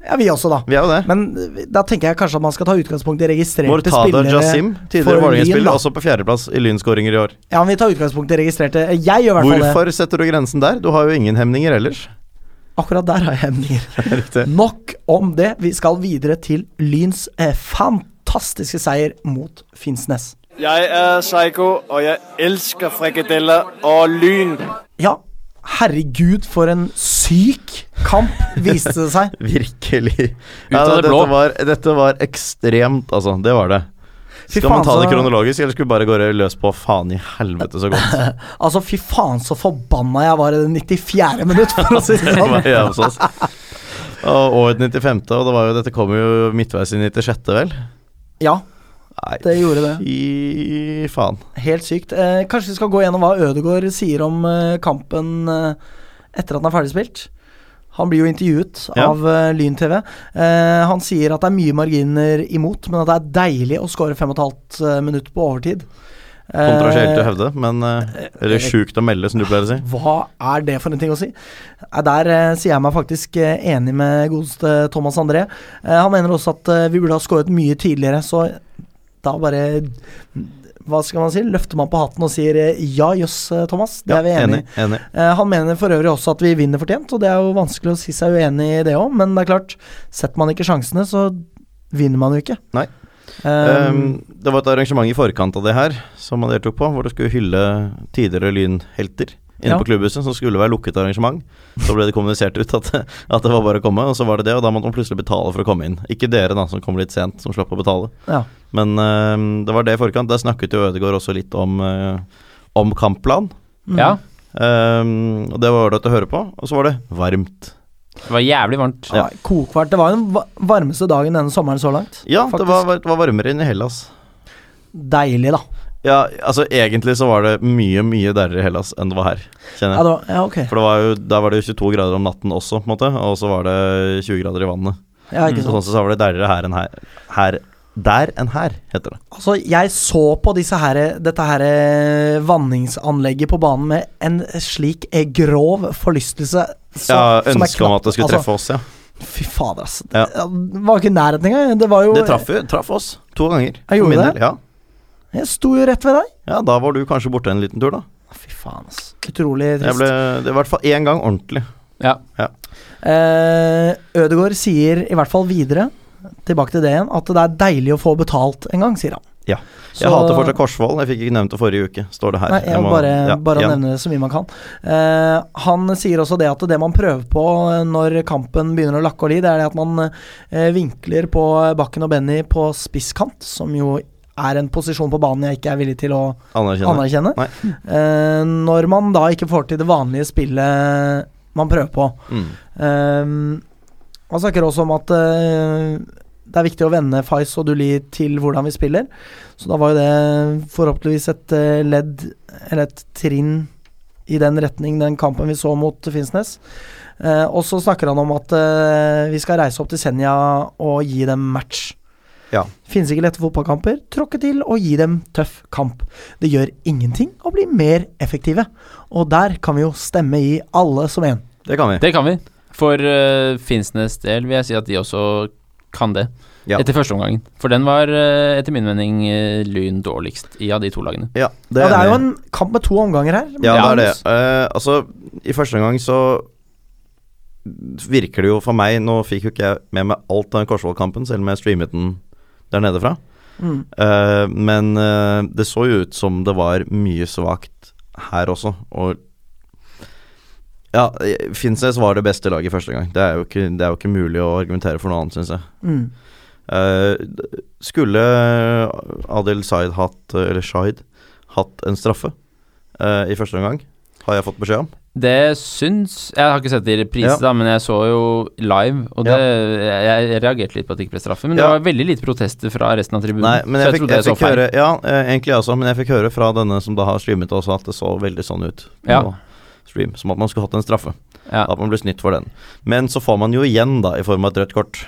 Speaker 2: Ja, vi også, da.
Speaker 1: Vi er jo det.
Speaker 2: Men eh, da tenker jeg kanskje at man skal ta utgangspunkt i registrerte
Speaker 1: Mortada
Speaker 2: spillere.
Speaker 1: Jasim, tidligere
Speaker 2: for Lyn,
Speaker 1: Vålerenga-spiller,
Speaker 2: da.
Speaker 1: også på fjerdeplass i Lynskåringer i år.
Speaker 2: Ja, men vi tar utgangspunkt i registrerte. Eh, Jeg gjør i hvert fall det.
Speaker 1: Hvorfor setter du grensen der? Du har jo ingen hemninger ellers.
Speaker 2: Akkurat der har jeg hemninger.
Speaker 1: Riktig.
Speaker 2: Nok om det. Vi skal videre til Lyns eh, fantastiske seier mot Finnsnes.
Speaker 6: Jeg er Psycho, og jeg elsker frikadeller og lyn.
Speaker 2: Ja, herregud, for en syk kamp viste det seg.
Speaker 1: Virkelig.
Speaker 3: Ut av det
Speaker 1: dette,
Speaker 3: blå.
Speaker 1: var, dette var ekstremt, altså. Det var det.
Speaker 2: Fy
Speaker 1: Skal man
Speaker 2: faen,
Speaker 1: ta det
Speaker 2: så-
Speaker 1: kronologisk, eller skulle vi bare gå løs på faen i helvete så godt?
Speaker 2: Altså, fy faen så forbanna jeg var i det 94. minutt, for å si det
Speaker 1: Det
Speaker 2: sånn.
Speaker 1: var jeg hos oss. Og året 95., og det var jo, dette kom jo midtveis i 96., vel?
Speaker 2: Ja,
Speaker 1: Nei,
Speaker 2: det gjorde det.
Speaker 1: fy faen.
Speaker 2: Helt sykt. Eh, kanskje vi skal gå gjennom hva Ødegaard sier om eh, kampen eh, etter at den er ferdigspilt. Han blir jo intervjuet
Speaker 1: Ja.
Speaker 2: av eh, Lyn TV. Eh, han sier at det er mye marginer imot, men at det er deilig å skåre 5,5 minutt på overtid. Eh,
Speaker 1: Kontroversielt å hevde, men eh, Eller sjukt å melde, som du pleier å si.
Speaker 2: Hva er det for en ting å si? Eh, Der eh, sier jeg meg faktisk eh, enig med godeste Thomas André. Eh, han mener også at eh, vi burde ha skåret mye tidligere, så da bare Hva skal man si? Løfter man på hatten og sier eh, ja, jøss, eh, Thomas. Det er vi enig i.
Speaker 1: Enig.
Speaker 2: Eh, han mener for øvrig også at vi vinner fortjent, og det er jo vanskelig å si seg uenig i det òg, men det er klart, setter man ikke sjansene, så vinner man jo ikke.
Speaker 1: Nei.
Speaker 2: Eh,
Speaker 1: Um, det var et arrangement i forkant av det her som man deltok på, hvor det skulle hylle tidligere lynhelter inne
Speaker 2: Ja.
Speaker 1: på klubbhuset, som skulle være lukket arrangement. Så ble det kommunisert ut at, at det var bare å komme, og så var det det, og da måtte man plutselig betale for å komme inn. Ikke dere, da, som kom litt sent, som slapp å betale.
Speaker 2: ja.
Speaker 1: Men um, det var det i forkant. Der snakket jo Ødegaard også litt om, eh, om kampplan.
Speaker 2: mm.
Speaker 3: Ja,
Speaker 1: Um, og det var det til å høre på. Og så var det varmt.
Speaker 3: det var jævlig varmt.
Speaker 2: Ja, kokvarmt. Det var jo den va- varmeste dagen denne sommeren så langt.
Speaker 1: Ja, det
Speaker 2: Faktisk.
Speaker 1: var, var- det var varmere enn i Hellas.
Speaker 2: Deilig, da.
Speaker 1: Ja, altså egentlig så var det mye, mye deiligere i Hellas enn det var her, kjenner jeg.
Speaker 2: Ja, det var, ja ok.
Speaker 1: For det var jo, der var det jo 22 grader om natten også, på en måte, og så var det 20 grader i vannet.
Speaker 2: Ja, ikke
Speaker 1: Så
Speaker 2: sant.
Speaker 1: sånn sett så var det deiligere her enn her. her. Der enn her, heter det.
Speaker 2: Altså, jeg så på disse her, dette her eh, vanningsanlegget på banen med en slik eh, grov forlystelse. så-
Speaker 1: Ja,
Speaker 2: som er
Speaker 1: Ønsket om at det skulle
Speaker 2: knapt-
Speaker 1: treffe oss, ja.
Speaker 2: altså, Fy fader, altså. Det
Speaker 1: Ja.
Speaker 2: det var ikke i nærheten engang. Det var jo
Speaker 1: Det traff, jo- traff oss to ganger. for
Speaker 2: gjorde
Speaker 1: min
Speaker 2: det?
Speaker 1: del, Ja.
Speaker 2: Jeg sto jo rett ved deg.
Speaker 1: ja, da var du kanskje borte en liten tur, da.
Speaker 2: Fy faen, altså. Utrolig
Speaker 1: Jeg
Speaker 2: trist.
Speaker 1: ble, det var i hvert fall én gang ordentlig.
Speaker 3: Ja.
Speaker 2: Eh, Ødegaard sier i hvert fall videre tilbake til det igjen, at det er deilig å få betalt en gang, sier han.
Speaker 1: Ja.
Speaker 2: Så-
Speaker 1: Jeg hater fortsatt Korsvoll. Jeg fikk ikke nevnt det forrige uke, står det her.
Speaker 2: Nei, jeg må bare, bare nevne det så mye man kan. Eh, han sier også det at det man prøver på eh, når kampen begynner å lakke og li, det er det at man eh, vinkler på Bakken og Benny på spisskant, som jo er en posisjon på banen jeg ikke er villig til å
Speaker 1: Anerkjenne.
Speaker 2: anerkjenne.
Speaker 1: Nei.
Speaker 2: Eh, når man da ikke får til det vanlige spillet man prøver på.
Speaker 1: Mm.
Speaker 2: Eh, han snakker også om at eh, det er viktig å vende Faiz og Duli til hvordan vi spiller. Så da var jo det forhåpentligvis et eh, ledd, eller et trinn, i den retning den kampen vi så mot Finnsnes. Eh, og så snakker han om at eh, vi skal reise opp til Senja og gi dem match.
Speaker 1: Ja.
Speaker 2: Finnes ikke lette fotballkamper. Tråkke til og gi dem tøff kamp. Det gjør ingenting å bli mer effektive. Og der kan vi jo stemme i alle som en.
Speaker 1: Det kan vi.
Speaker 3: Det kan vi. For eh, Finnsnes del vil jeg si at de også kan det.
Speaker 1: Ja.
Speaker 3: Etter første omgangen. For den var eh, etter min mening eh, Lyn dårligst i av de to lagene.
Speaker 1: Ja, det
Speaker 2: Det
Speaker 1: er,
Speaker 2: ja, det er
Speaker 1: enig.
Speaker 2: jo en kamp med to omganger her.
Speaker 1: Ja, det er det.
Speaker 2: Magnus.
Speaker 1: Eh, altså, i første omgang så virker det jo for meg Nå fikk jo ikke jeg med meg alt av den Korsvoll-kampen, selv om jeg streamet den der nede fra.
Speaker 2: Mm.
Speaker 1: Eh, men eh, det så jo ut som det var mye svakt her også, og ja, eh, Finnsnes var det beste laget i første gang. Det er jo ikke, det er jo ikke mulig å argumentere for noe annet, syns jeg.
Speaker 2: Mm.
Speaker 1: Eh, d- skulle Adel Zaid hatt, eller Shaid, hatt en straffe eh, i første omgang, har jeg fått beskjed om.
Speaker 3: Det syns Jeg har ikke sett det i reprise,
Speaker 1: Ja.
Speaker 3: da, men jeg så jo live, og det, jeg, jeg reagerte litt på at det ikke ble straffe. Men det
Speaker 1: Ja.
Speaker 3: var veldig lite protester fra resten av tribunen.
Speaker 1: Nei, men
Speaker 3: Mm. så
Speaker 1: jeg
Speaker 3: jeg,
Speaker 1: fikk,
Speaker 3: trodde
Speaker 1: jeg
Speaker 3: jeg så
Speaker 1: fikk
Speaker 3: feil.
Speaker 1: høre Ja, eh, egentlig jeg også, men jeg fikk høre fra denne som da har streamet også, at det så veldig sånn ut. på
Speaker 3: Ja.
Speaker 1: Stream, som at man skulle hatt en straffe.
Speaker 3: Ja.
Speaker 1: At man ble snytt for den. Men så får man jo igjen, da, i form av et rødt kort.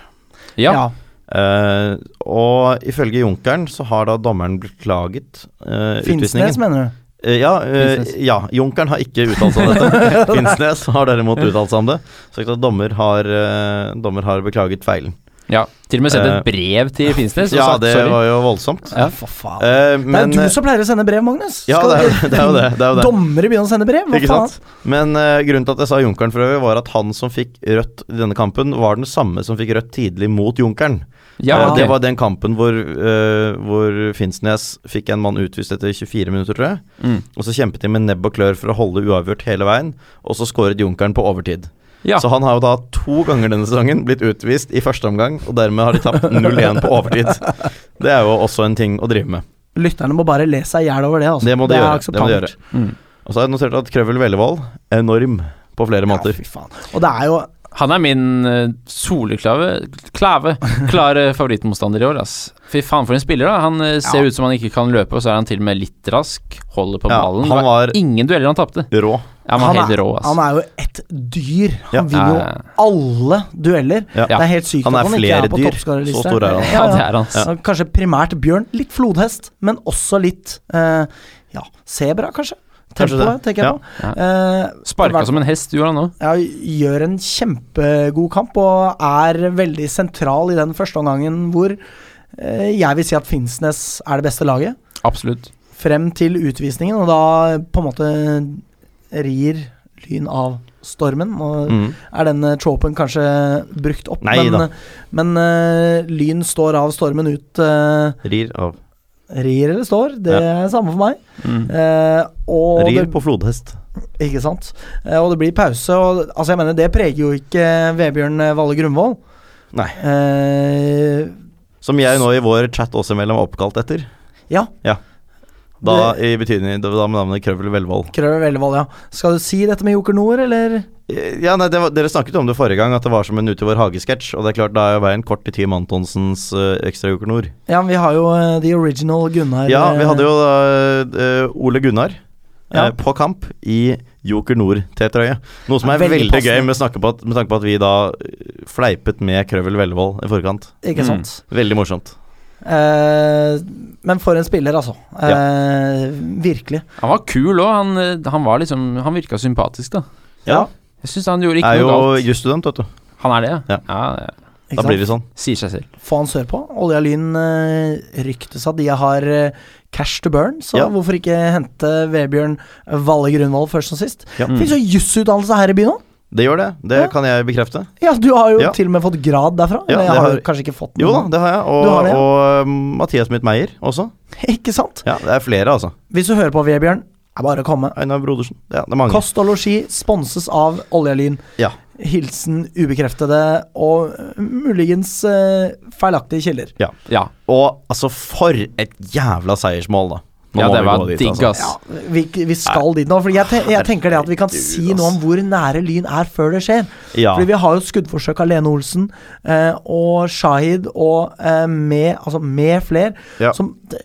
Speaker 3: Ja.
Speaker 1: Eh, og ifølge Junkeren så har da dommeren beklaget uh, utvisningen.
Speaker 2: Finnsnes, mener du?
Speaker 1: Eh, Ja, eh,
Speaker 3: Finnsnes.
Speaker 1: ja, Junkeren har ikke uttalt seg om dette. Finnsnes har derimot uttalt seg om det. Sagt at dommer har, eh, dommer har beklaget feilen.
Speaker 3: ja. Til og med sendt
Speaker 1: Eh,
Speaker 3: et brev til Finnsnes og
Speaker 1: Ja,
Speaker 3: sagt
Speaker 1: det
Speaker 3: sorry.
Speaker 1: var jo voldsomt.
Speaker 3: Ja.
Speaker 2: For faen.
Speaker 1: Eh,
Speaker 2: det er
Speaker 1: men
Speaker 2: jo du som pleier å sende brev, Magnus.
Speaker 1: Ja,
Speaker 2: Skal
Speaker 1: det er,
Speaker 2: ikke
Speaker 1: jo- det er jo det. det, er jo det.
Speaker 2: Dommere begynner å sende brev? Hva
Speaker 1: Ikke
Speaker 2: faen?
Speaker 1: sant? Men eh, grunnen til at jeg sa Junkeren for øvrig, var at han som fikk rødt i denne kampen, var den samme som fikk rødt tidlig mot Junkeren.
Speaker 3: ja,
Speaker 1: Eh,
Speaker 3: ok.
Speaker 1: Det var den kampen hvor, eh, hvor Finnsnes fikk en mann utvist etter 24 minutter, tror jeg.
Speaker 3: mm.
Speaker 1: Og så kjempet de med nebb og klør for å holde uavgjort hele veien, og så skåret Junkeren på overtid.
Speaker 3: ja.
Speaker 1: Så han har jo da to ganger denne sesongen blitt utvist i første omgang, og dermed har de tapt 0-1 på overtid. Det er jo også en ting å drive med.
Speaker 2: Lytterne må bare le seg i hjel over det. Altså.
Speaker 1: Det må de
Speaker 2: er
Speaker 1: gjøre, det må de
Speaker 2: akseptabelt.
Speaker 1: gjøre.
Speaker 3: Mm.
Speaker 1: Og så har jeg notert at Krøvel Vellevold enorm på flere
Speaker 2: Ja,
Speaker 1: måter.
Speaker 2: fy faen. Og det er jo
Speaker 3: Han er min uh, soleklave klave, klare favorittmotstander i år, ass. Fy faen for en spiller, da. Han eh, ser
Speaker 2: Ja.
Speaker 3: ut som han ikke kan løpe, og så er han til og med litt rask. Holder på
Speaker 1: Ja,
Speaker 3: ballen.
Speaker 1: han
Speaker 3: Det var
Speaker 1: var-
Speaker 3: ingen dueller han tapte.
Speaker 1: Rå.
Speaker 3: Ja, men han,
Speaker 2: er,
Speaker 3: er helt rå, ass.
Speaker 2: han er jo et dyr.
Speaker 1: Ja.
Speaker 2: Han vinner
Speaker 3: Ja, ja,
Speaker 2: jo alle dueller.
Speaker 1: Ja.
Speaker 2: Det er helt sykt
Speaker 1: Han er
Speaker 2: at han ikke
Speaker 1: flere
Speaker 2: er på
Speaker 1: dyr.
Speaker 2: toppskårerlista.
Speaker 1: Så stor er han.
Speaker 3: Ja, det er han.
Speaker 2: Så Kanskje primært bjørn. Litt flodhest, men også litt eh, ja, sebra, kanskje.
Speaker 1: Kanskje det.
Speaker 2: Tempoet, tenker jeg
Speaker 1: Ja.
Speaker 2: på. Eh,
Speaker 3: Sparka som en hest, gjorde han òg.
Speaker 2: ja, gjør en kjempegod kamp og er veldig sentral i den første omgangen hvor eh, jeg vil si at Finnsnes er det beste laget.
Speaker 3: Absolutt.
Speaker 2: Frem til utvisningen, og da på en måte rir Lyn av stormen. Og
Speaker 1: Mm.
Speaker 2: er den eh, tropen kanskje brukt opp,
Speaker 1: Nei da.
Speaker 2: men, men eh, Lyn står av stormen ut. eh,
Speaker 1: Rir av
Speaker 2: rir eller står, det er samme for meg.
Speaker 3: Mm.
Speaker 2: Eh, og
Speaker 1: Rir
Speaker 2: det-
Speaker 1: på flodhest.
Speaker 2: ikke sant? Eh, Og det blir pause. Og, altså jeg mener, det preger jo ikke eh, Vebjørn Valle Grunvoll.
Speaker 1: Nei.
Speaker 2: Eh,
Speaker 1: Som jeg nå i vår chat også imellom er oppkalt etter.
Speaker 2: ja,
Speaker 1: Da i betydning da med navnet Krøvel Vellevold.
Speaker 2: Krøver Vellevold, ja. Skal du si dette med Joker Nord, eller?
Speaker 1: Eh, Ja, nei, det var, dere snakket om det forrige gang, at det var som en Ute i vår hage-sketsj. Og det er klart, da er jo veien kort til Team Antonsens uh, Ekstrajoker Nord.
Speaker 2: Ja, men vi har jo eh, The Original Gunnar.
Speaker 1: Ja,
Speaker 2: eh,
Speaker 1: vi hadde jo da eh, Ole Gunnar eh,
Speaker 2: Ja.
Speaker 1: på kamp i Joker Nord-T-trøye. Noe som er
Speaker 2: Veldig
Speaker 1: veldig,
Speaker 2: passende.
Speaker 1: gøy med, snakke på at, med tanke på at vi da eh, fleipet med Krøvel Vellevold i forkant.
Speaker 2: Ikke
Speaker 3: Mm.
Speaker 2: sant?
Speaker 1: Veldig morsomt.
Speaker 2: Eh, men for en spiller, altså. Eh, Virkelig.
Speaker 3: Han var kul òg. Han, eh, han var liksom Han virka sympatisk, da.
Speaker 1: Ja,
Speaker 3: Jeg syns han gjorde ikke
Speaker 1: Er jo
Speaker 3: noe galt.
Speaker 1: jusstudent, vet du.
Speaker 3: Han er det, ja.
Speaker 1: Ja.
Speaker 3: ja. ja.
Speaker 2: Ikke
Speaker 1: Da
Speaker 2: sant?
Speaker 1: blir det sånn.
Speaker 3: Sier seg selv.
Speaker 2: Få han sørpå. Olja Lyn eh, ryktes at de har eh, cash to burn, så
Speaker 1: Ja.
Speaker 2: hvorfor ikke hente Vebjørn Valle Grunvoll først som sist?
Speaker 1: Ja.
Speaker 2: Det Fins jo jusutdannelse her i byen òg!
Speaker 1: Det gjør det. Det
Speaker 2: Ja.
Speaker 1: kan jeg bekrefte.
Speaker 2: Ja, du har jo
Speaker 1: Ja.
Speaker 2: til og med fått grad derfra.
Speaker 1: Ja,
Speaker 2: Eller
Speaker 1: det
Speaker 2: jeg har
Speaker 1: har-
Speaker 2: jo kanskje ikke fått
Speaker 1: Jo da, det har jeg. Og,
Speaker 2: Mm. Du har det, ja.
Speaker 1: og um, Mathias Mitt Meyer også.
Speaker 2: Ikke sant?
Speaker 1: Ja, det er flere, altså.
Speaker 2: Hvis du hører på, Vebjørn, er bare å komme.
Speaker 1: Einar Brodersen. Ja, det er mange.
Speaker 2: Kost og losji sponses av Oljelyn.
Speaker 1: Ja.
Speaker 2: Hilsen ubekreftede og eh, muligens eh, feilaktige kilder.
Speaker 3: Ja,
Speaker 1: Og altså, for et jævla seiersmål, da. Nå
Speaker 3: ja
Speaker 1: må
Speaker 3: det
Speaker 1: vi
Speaker 3: var
Speaker 1: gå dit,
Speaker 3: digg,
Speaker 1: altså.
Speaker 3: ass.
Speaker 2: Ja, vi, vi skal dit nå. For jeg, te jeg tenker det at vi kan
Speaker 1: Herregud,
Speaker 2: si noe om
Speaker 1: ass.
Speaker 2: hvor nære Lyn er før det skjer.
Speaker 1: Ja.
Speaker 2: Fordi vi har jo skuddforsøk av Lene Olsen eh, og Shahid og eh, med, altså med flere,
Speaker 1: Ja.
Speaker 2: som d-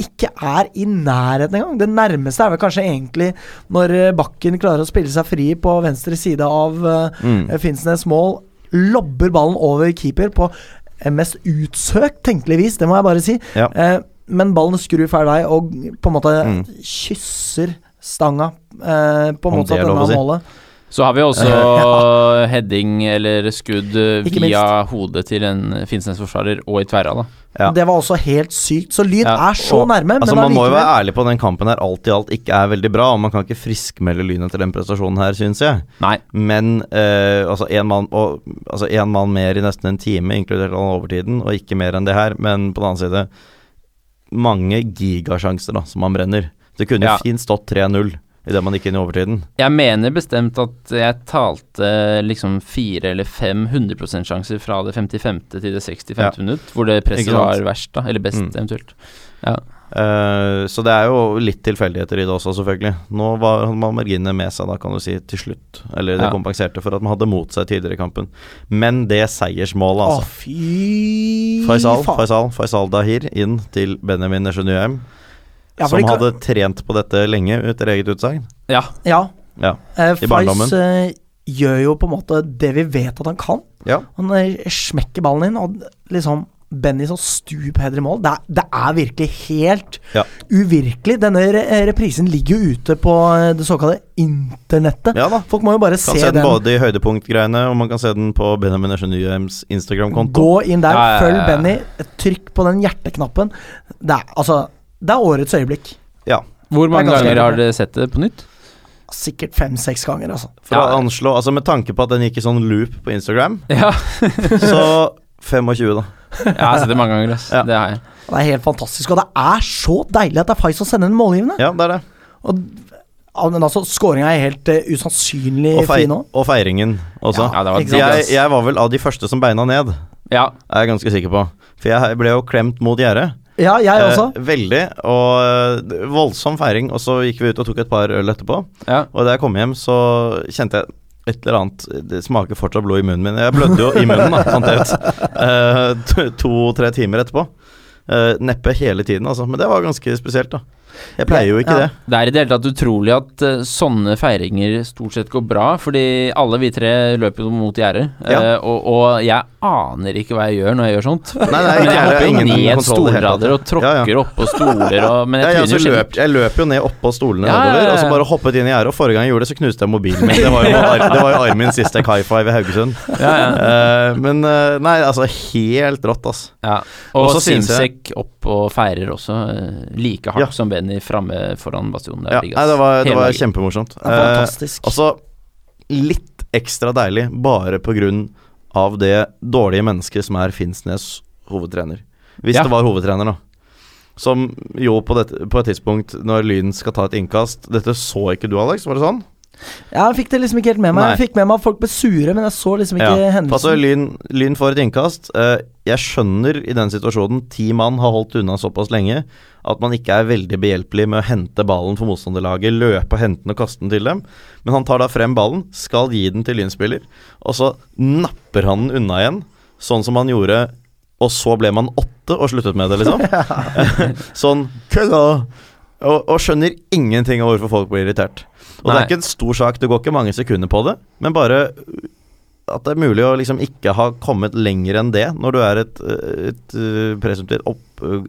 Speaker 2: ikke er i nærheten engang. Det nærmeste er vel kanskje egentlig når eh, Bakken klarer å spille seg fri på venstre side av eh,
Speaker 1: Mm.
Speaker 2: Finnsnes mål, lobber ballen over keeper på eh, mest utsøkt tenkelig vis, det må jeg bare si.
Speaker 1: Ja.
Speaker 2: Eh, men ballen skrur feil vei og på en måte
Speaker 1: Mm.
Speaker 2: kysser stanga eh, på
Speaker 1: Om det
Speaker 2: motsatt
Speaker 1: er
Speaker 2: ende
Speaker 1: lov å
Speaker 2: av
Speaker 1: si.
Speaker 2: målet.
Speaker 3: Så har vi også heading eller skudd eh,
Speaker 2: Ikke
Speaker 3: via hodet til en Finnsnes-forsvarer og i tverra, da.
Speaker 1: Ja.
Speaker 2: Det var også helt sykt. Så Lyn
Speaker 3: Ja,
Speaker 2: er så
Speaker 1: og-
Speaker 2: nærme,
Speaker 1: Altså, man
Speaker 2: men
Speaker 1: må jo
Speaker 2: allikevel
Speaker 1: være ærlig på at den kampen her alt i alt ikke er veldig bra. Og man kan ikke friskmelde Lyn etter den prestasjonen her, syns jeg.
Speaker 3: Nei.
Speaker 1: Men eh, altså én mann, og- altså en mann mer i nesten en time, inkludert all overtiden, og ikke mer enn det her. Men på den annen side, mange gigasjanser da, som man brenner. Det kunne
Speaker 3: Ja.
Speaker 1: fint stått 3-0 idet man gikk inn i overtiden.
Speaker 3: Jeg mener bestemt at jeg talte liksom fire eller fem 100 sjanser fra det 55. til det 65.
Speaker 1: Ja.
Speaker 3: minutt, hvor det
Speaker 1: Ikke
Speaker 3: presset
Speaker 1: sant?
Speaker 3: var verst, da. Eller best,
Speaker 1: Mm.
Speaker 3: eventuelt.
Speaker 1: Eh, så det er jo litt tilfeldigheter i det også, selvfølgelig. Nå var hadde man marginene med seg, da, kan du si, til slutt. Eller det
Speaker 3: Ja.
Speaker 1: kompenserte for at man hadde mot seg tidligere i kampen. Men det seiersmålet, altså.
Speaker 2: Å, fy
Speaker 1: Faisal,
Speaker 2: faen.
Speaker 1: Faisal, Faisal Dahir inn til Benjamin Nesjonøheim,
Speaker 2: Ja, for
Speaker 1: som
Speaker 2: de kan-
Speaker 1: hadde trent på dette lenge, etter eget utsagn.
Speaker 3: Ja.
Speaker 2: Ja.
Speaker 1: Ja,
Speaker 2: Eh,
Speaker 1: i barndommen.
Speaker 2: Fais eh, gjør jo på en måte det vi vet at han kan.
Speaker 1: Ja.
Speaker 2: Han eh, smekker ballen inn, og liksom Benny sånn stupheder i mål. Det er, det er virkelig helt
Speaker 1: Ja.
Speaker 2: uvirkelig. Denne re eh, reprisen ligger jo ute på eh, det såkalte internettet.
Speaker 1: Ja da.
Speaker 2: Folk må jo bare
Speaker 1: Kan
Speaker 2: se,
Speaker 1: se, den
Speaker 2: den.
Speaker 1: både i høydepunktgreiene, og man kan se den på Benjamin Nesjonøheims Instagram-konto.
Speaker 2: Gå inn der,
Speaker 3: Ja, ja, ja,
Speaker 2: følg
Speaker 3: ja.
Speaker 2: Benny, trykk på den hjerteknappen. Det er, altså, det er årets øyeblikk.
Speaker 1: Ja.
Speaker 3: Hvor mange
Speaker 2: ganske
Speaker 3: ganger
Speaker 2: bra.
Speaker 3: har dere sett det på nytt?
Speaker 2: Sikkert fem-seks ganger, altså.
Speaker 1: For
Speaker 3: Ja.
Speaker 1: å anslå Altså med tanke på at den gikk i sånn loop på Instagram,
Speaker 3: Ja,
Speaker 1: så 25, da.
Speaker 3: jeg har sett det mange ganger, ass.
Speaker 1: Ja.
Speaker 3: Det har jeg.
Speaker 2: Det er helt fantastisk. Og det er så deilig at det er Fais som sender den målgivende.
Speaker 1: Ja, det er det.
Speaker 2: Og, ja, men altså, skåringa er helt eh, usannsynlig
Speaker 1: Og, fei
Speaker 2: fin òg.
Speaker 1: og feiringen også.
Speaker 3: Ja, det var
Speaker 2: Ikke sant?
Speaker 1: jeg, jeg var vel av de første som beina ned,
Speaker 3: Ja.
Speaker 1: er jeg ganske sikker på. For jeg ble jo klemt mot gjerdet.
Speaker 2: Ja, jeg også.
Speaker 1: Eh, veldig. Og eh, voldsom feiring. Og så gikk vi ut og tok et par øl etterpå.
Speaker 3: ja.
Speaker 1: Og da jeg kom hjem, så kjente jeg et eller annet Det smaker fortsatt blod i munnen min. Jeg blødde jo i munnen, da, fant jeg ut. Eh, to- To-tre timer etterpå. Eh, neppe hele tiden, altså. Men det var ganske spesielt, da. Jeg pleier jo ikke
Speaker 2: Ja.
Speaker 1: det.
Speaker 3: Det er i det hele tatt utrolig at eh, sånne feiringer stort sett går bra, fordi alle vi tre løper jo mot gjerdet,
Speaker 1: Ja.
Speaker 3: eh, og, og jeg aner ikke hva jeg gjør når jeg gjør sånt.
Speaker 1: Nei, nei,
Speaker 3: Men
Speaker 1: ikke er
Speaker 3: jeg
Speaker 1: det
Speaker 3: hopper jo
Speaker 1: ingen
Speaker 3: ned
Speaker 1: kontroll i det hele tatt.
Speaker 3: stolrader og tråkker
Speaker 1: Ja, ja.
Speaker 3: oppå stoler og Men
Speaker 1: Ja,
Speaker 3: jeg
Speaker 1: jeg,
Speaker 3: tryner
Speaker 1: altså,
Speaker 3: jo
Speaker 1: løp, jeg løp jo ned oppå stolene
Speaker 3: Ja, ja,
Speaker 1: nedover,
Speaker 3: ja.
Speaker 1: og så bare hoppet inn i gjerdet. Og forrige gang jeg gjorde det, så knuste jeg mobilen min. Det var jo, det var jo Armin sist jeg high five i Haugesund. Eh, men eh, nei, altså helt rått, ass.
Speaker 3: Ja.
Speaker 1: Og
Speaker 3: Og
Speaker 1: så synes jeg-
Speaker 3: Simsek opp og feirer også, eh, like hardt
Speaker 1: Ja.
Speaker 3: som Benny framme foran bastionen.
Speaker 1: Ja,
Speaker 3: Der,
Speaker 1: nei, det var, det var kjempemorsomt. Eh,
Speaker 2: Det er fantastisk.
Speaker 1: Og så Altså, litt ekstra deilig bare på grunn av det dårlige mennesket som er Finnsnes hovedtrener. Hvis
Speaker 3: Ja.
Speaker 1: det var hovedtrener, da. Som jo på, dette, på et tidspunkt, når Lyn skal ta et innkast Dette så ikke du, Alex, var det sånn?
Speaker 2: Ja, jeg fikk det liksom ikke helt med meg.
Speaker 1: Nei.
Speaker 2: Jeg fikk med meg at folk ble sure, men jeg så liksom ikke
Speaker 1: Ja. Altså,
Speaker 2: hendelsen.
Speaker 1: lyn, lyn får et innkast. Eh, jeg skjønner i den situasjonen ti mann har holdt unna såpass lenge at man ikke er veldig behjelpelig med å hente ballen for motstanderlaget, løpe og hente den og kaste den til dem. Men han tar da frem ballen, skal gi den til Lyn-spiller, og så napper han den unna igjen, sånn som han gjorde og så ble man åtte og sluttet med det, liksom. sånn kødda! Og, og skjønner ingenting av hvorfor folk blir irritert. Og det
Speaker 3: Nei.
Speaker 1: er ikke en stor sak, det går ikke mange sekunder på det, men bare at det er mulig å liksom ikke ha kommet lenger enn det når du er et, et, øh, presumptivt opp,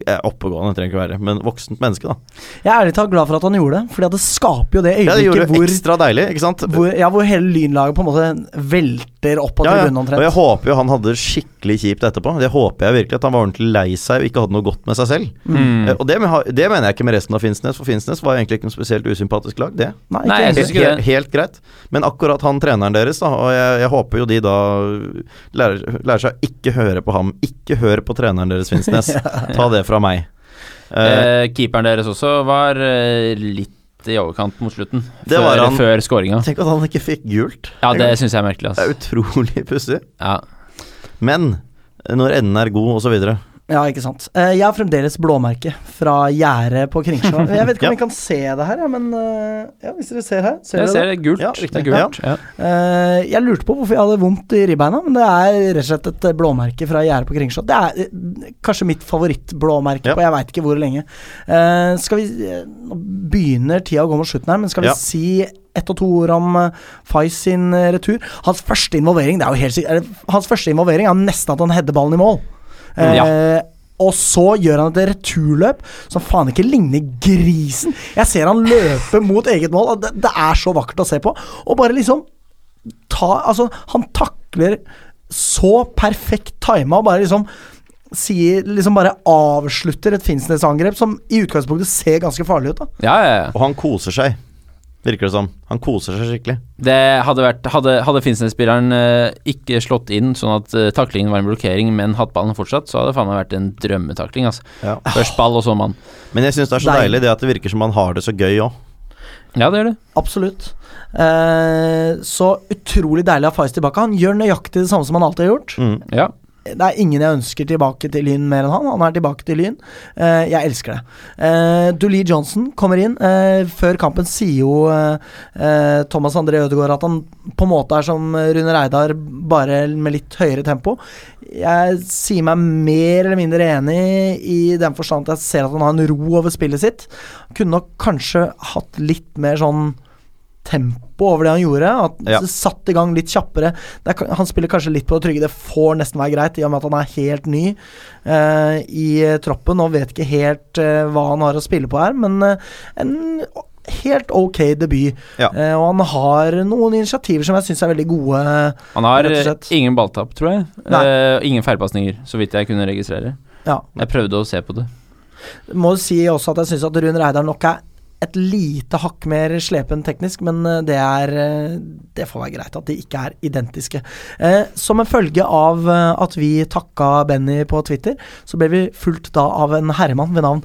Speaker 1: eh, oppegående, trenger ikke være, men voksent menneske, da.
Speaker 2: Jeg er ærlig talt glad for at han gjorde det, Fordi at det skaper jo det
Speaker 1: Ja, det gjorde
Speaker 2: øyeblikket
Speaker 1: det
Speaker 2: hvor,
Speaker 1: ekstra deilig, ikke sant?
Speaker 2: hvor, ja, hvor hele lynlaget på en måte velter opp av
Speaker 1: Ja, ja.
Speaker 2: tribunen
Speaker 1: Og jeg
Speaker 2: omtrent.
Speaker 1: håper jo han hadde det skikkelig kjipt etterpå. Det håper jeg virkelig, at han var ordentlig lei seg og ikke hadde noe godt med seg selv.
Speaker 2: Mm.
Speaker 1: Eh, Og det, men- det mener jeg ikke med resten av Finnsnes, for Finnsnes var egentlig ikke noe spesielt usympatisk lag, det.
Speaker 2: Nei,
Speaker 3: Nei,
Speaker 2: ikke
Speaker 3: jeg
Speaker 2: egentlig.
Speaker 3: synes ikke
Speaker 1: Helt,
Speaker 3: det.
Speaker 1: helt greit. Men akkurat han treneren deres, da, og jeg, jeg håper jo de da lærer, lærer seg å ikke høre på ham. Ikke hør på treneren deres, Finnsnes. Ta det fra meg. Eh,
Speaker 3: Eh, keeperen deres også var eh, litt i overkant mot slutten.
Speaker 1: Det
Speaker 3: før,
Speaker 1: var han.
Speaker 3: før scoringa.
Speaker 1: tenk at han ikke fikk gult.
Speaker 3: Eh, Ja, det syns jeg er merkelig,
Speaker 1: Det er
Speaker 3: ass.
Speaker 1: utrolig pussig.
Speaker 3: Ja.
Speaker 1: Men når enden er god, osv.
Speaker 2: Ja, ikke sant. Eh, Jeg har fremdeles blåmerke fra gjerdet på Kringsjå. Jeg vet ikke om
Speaker 1: Ja.
Speaker 2: vi kan se det her, ja, men eh, ja, hvis dere ser her, ser dere
Speaker 3: Jeg ser
Speaker 2: det?
Speaker 3: det er gult.
Speaker 1: Ja,
Speaker 3: det er
Speaker 1: riktig.
Speaker 3: gult. Ja.
Speaker 2: Eh, Jeg lurte på hvorfor jeg hadde vondt i ribbeina, men det er rett og slett et eh, blåmerke fra gjerdet på Kringsjå. Det er eh, kanskje mitt favorittblåmerke
Speaker 1: Ja.
Speaker 2: på jeg veit ikke hvor lenge. Eh, Skal vi eh, Nå begynner tida å gå mot slutten her, men skal vi
Speaker 1: Ja.
Speaker 2: si ett og to ord om eh, Fais sin eh, retur? Hans første involvering det er jo helt sikkert eller, Hans første involvering er nesten at han header ballen i mål. Eh, Og så gjør han et returløp som faen ikke ligner grisen. Jeg ser han løpe mot eget mål, og det, det er så vakkert å se på. Og bare liksom ta, altså, han takler så perfekt tima og bare liksom sier, liksom bare avslutter et Finnsnes-angrep som i utgangspunktet ser ganske farlig ut. da
Speaker 3: Ja, ja, ja.
Speaker 1: Og han koser seg, virker det som. Han koser seg skikkelig.
Speaker 3: Det hadde vært Hadde, hadde Finnsnes-spilleren eh, ikke slått inn sånn at eh, taklingen var en blokkering, men hatt ballen fortsatt, så hadde det faen meg vært en drømmetakling, altså.
Speaker 1: Ja.
Speaker 3: Først ball, og så mann.
Speaker 1: Men jeg syns det er så
Speaker 2: Deilig.
Speaker 1: deilig det at det virker som han har det så gøy òg.
Speaker 3: Ja, det gjør det.
Speaker 2: Absolutt. Eh, så utrolig deilig av Faiz tilbake. Han gjør nøyaktig det samme som han alltid har gjort.
Speaker 3: Ja.
Speaker 2: Det er ingen jeg ønsker tilbake til Lyn mer enn han. Han er tilbake til Lyn. Eh, jeg elsker det. Uh, Dulee Johnson kommer inn. Eh, før kampen sier jo eh, eh, Thomas André Ødegaard at han på en måte er som Rune Reidar, bare med litt høyere tempo. Jeg sier meg mer eller mindre enig i den forstand at jeg ser at han har en ro over spillet sitt. Kunne nok kanskje hatt litt mer sånn tempo over det han gjorde. At
Speaker 1: Ja.
Speaker 2: det Satt i gang litt kjappere. Det er, ka- han spiller kanskje litt på det trygge, det får nesten være greit, i og med at han er helt ny eh, i eh, troppen og vet ikke helt eh, hva han har å spille på her, men eh, en o- helt ok debut.
Speaker 1: Ja.
Speaker 2: Eh, og han har noen initiativer som jeg syns er veldig gode.
Speaker 3: Han har
Speaker 2: Rett og
Speaker 3: eh,
Speaker 2: slett.
Speaker 3: ingen balltap, tror jeg.
Speaker 2: Nei.
Speaker 3: Eh, ingen feilpasninger, så vidt jeg kunne registrere.
Speaker 2: Ja.
Speaker 3: Jeg prøvde å se på det.
Speaker 2: Må jo si også at jeg syns at Rune Reidar nok er et lite hakk mer slepen teknisk, men eh, det er eh, Det får være greit at de ikke er identiske. Eh, som en følge av eh, at vi takka Benny på Twitter, så ble vi fulgt da av en herremann ved navn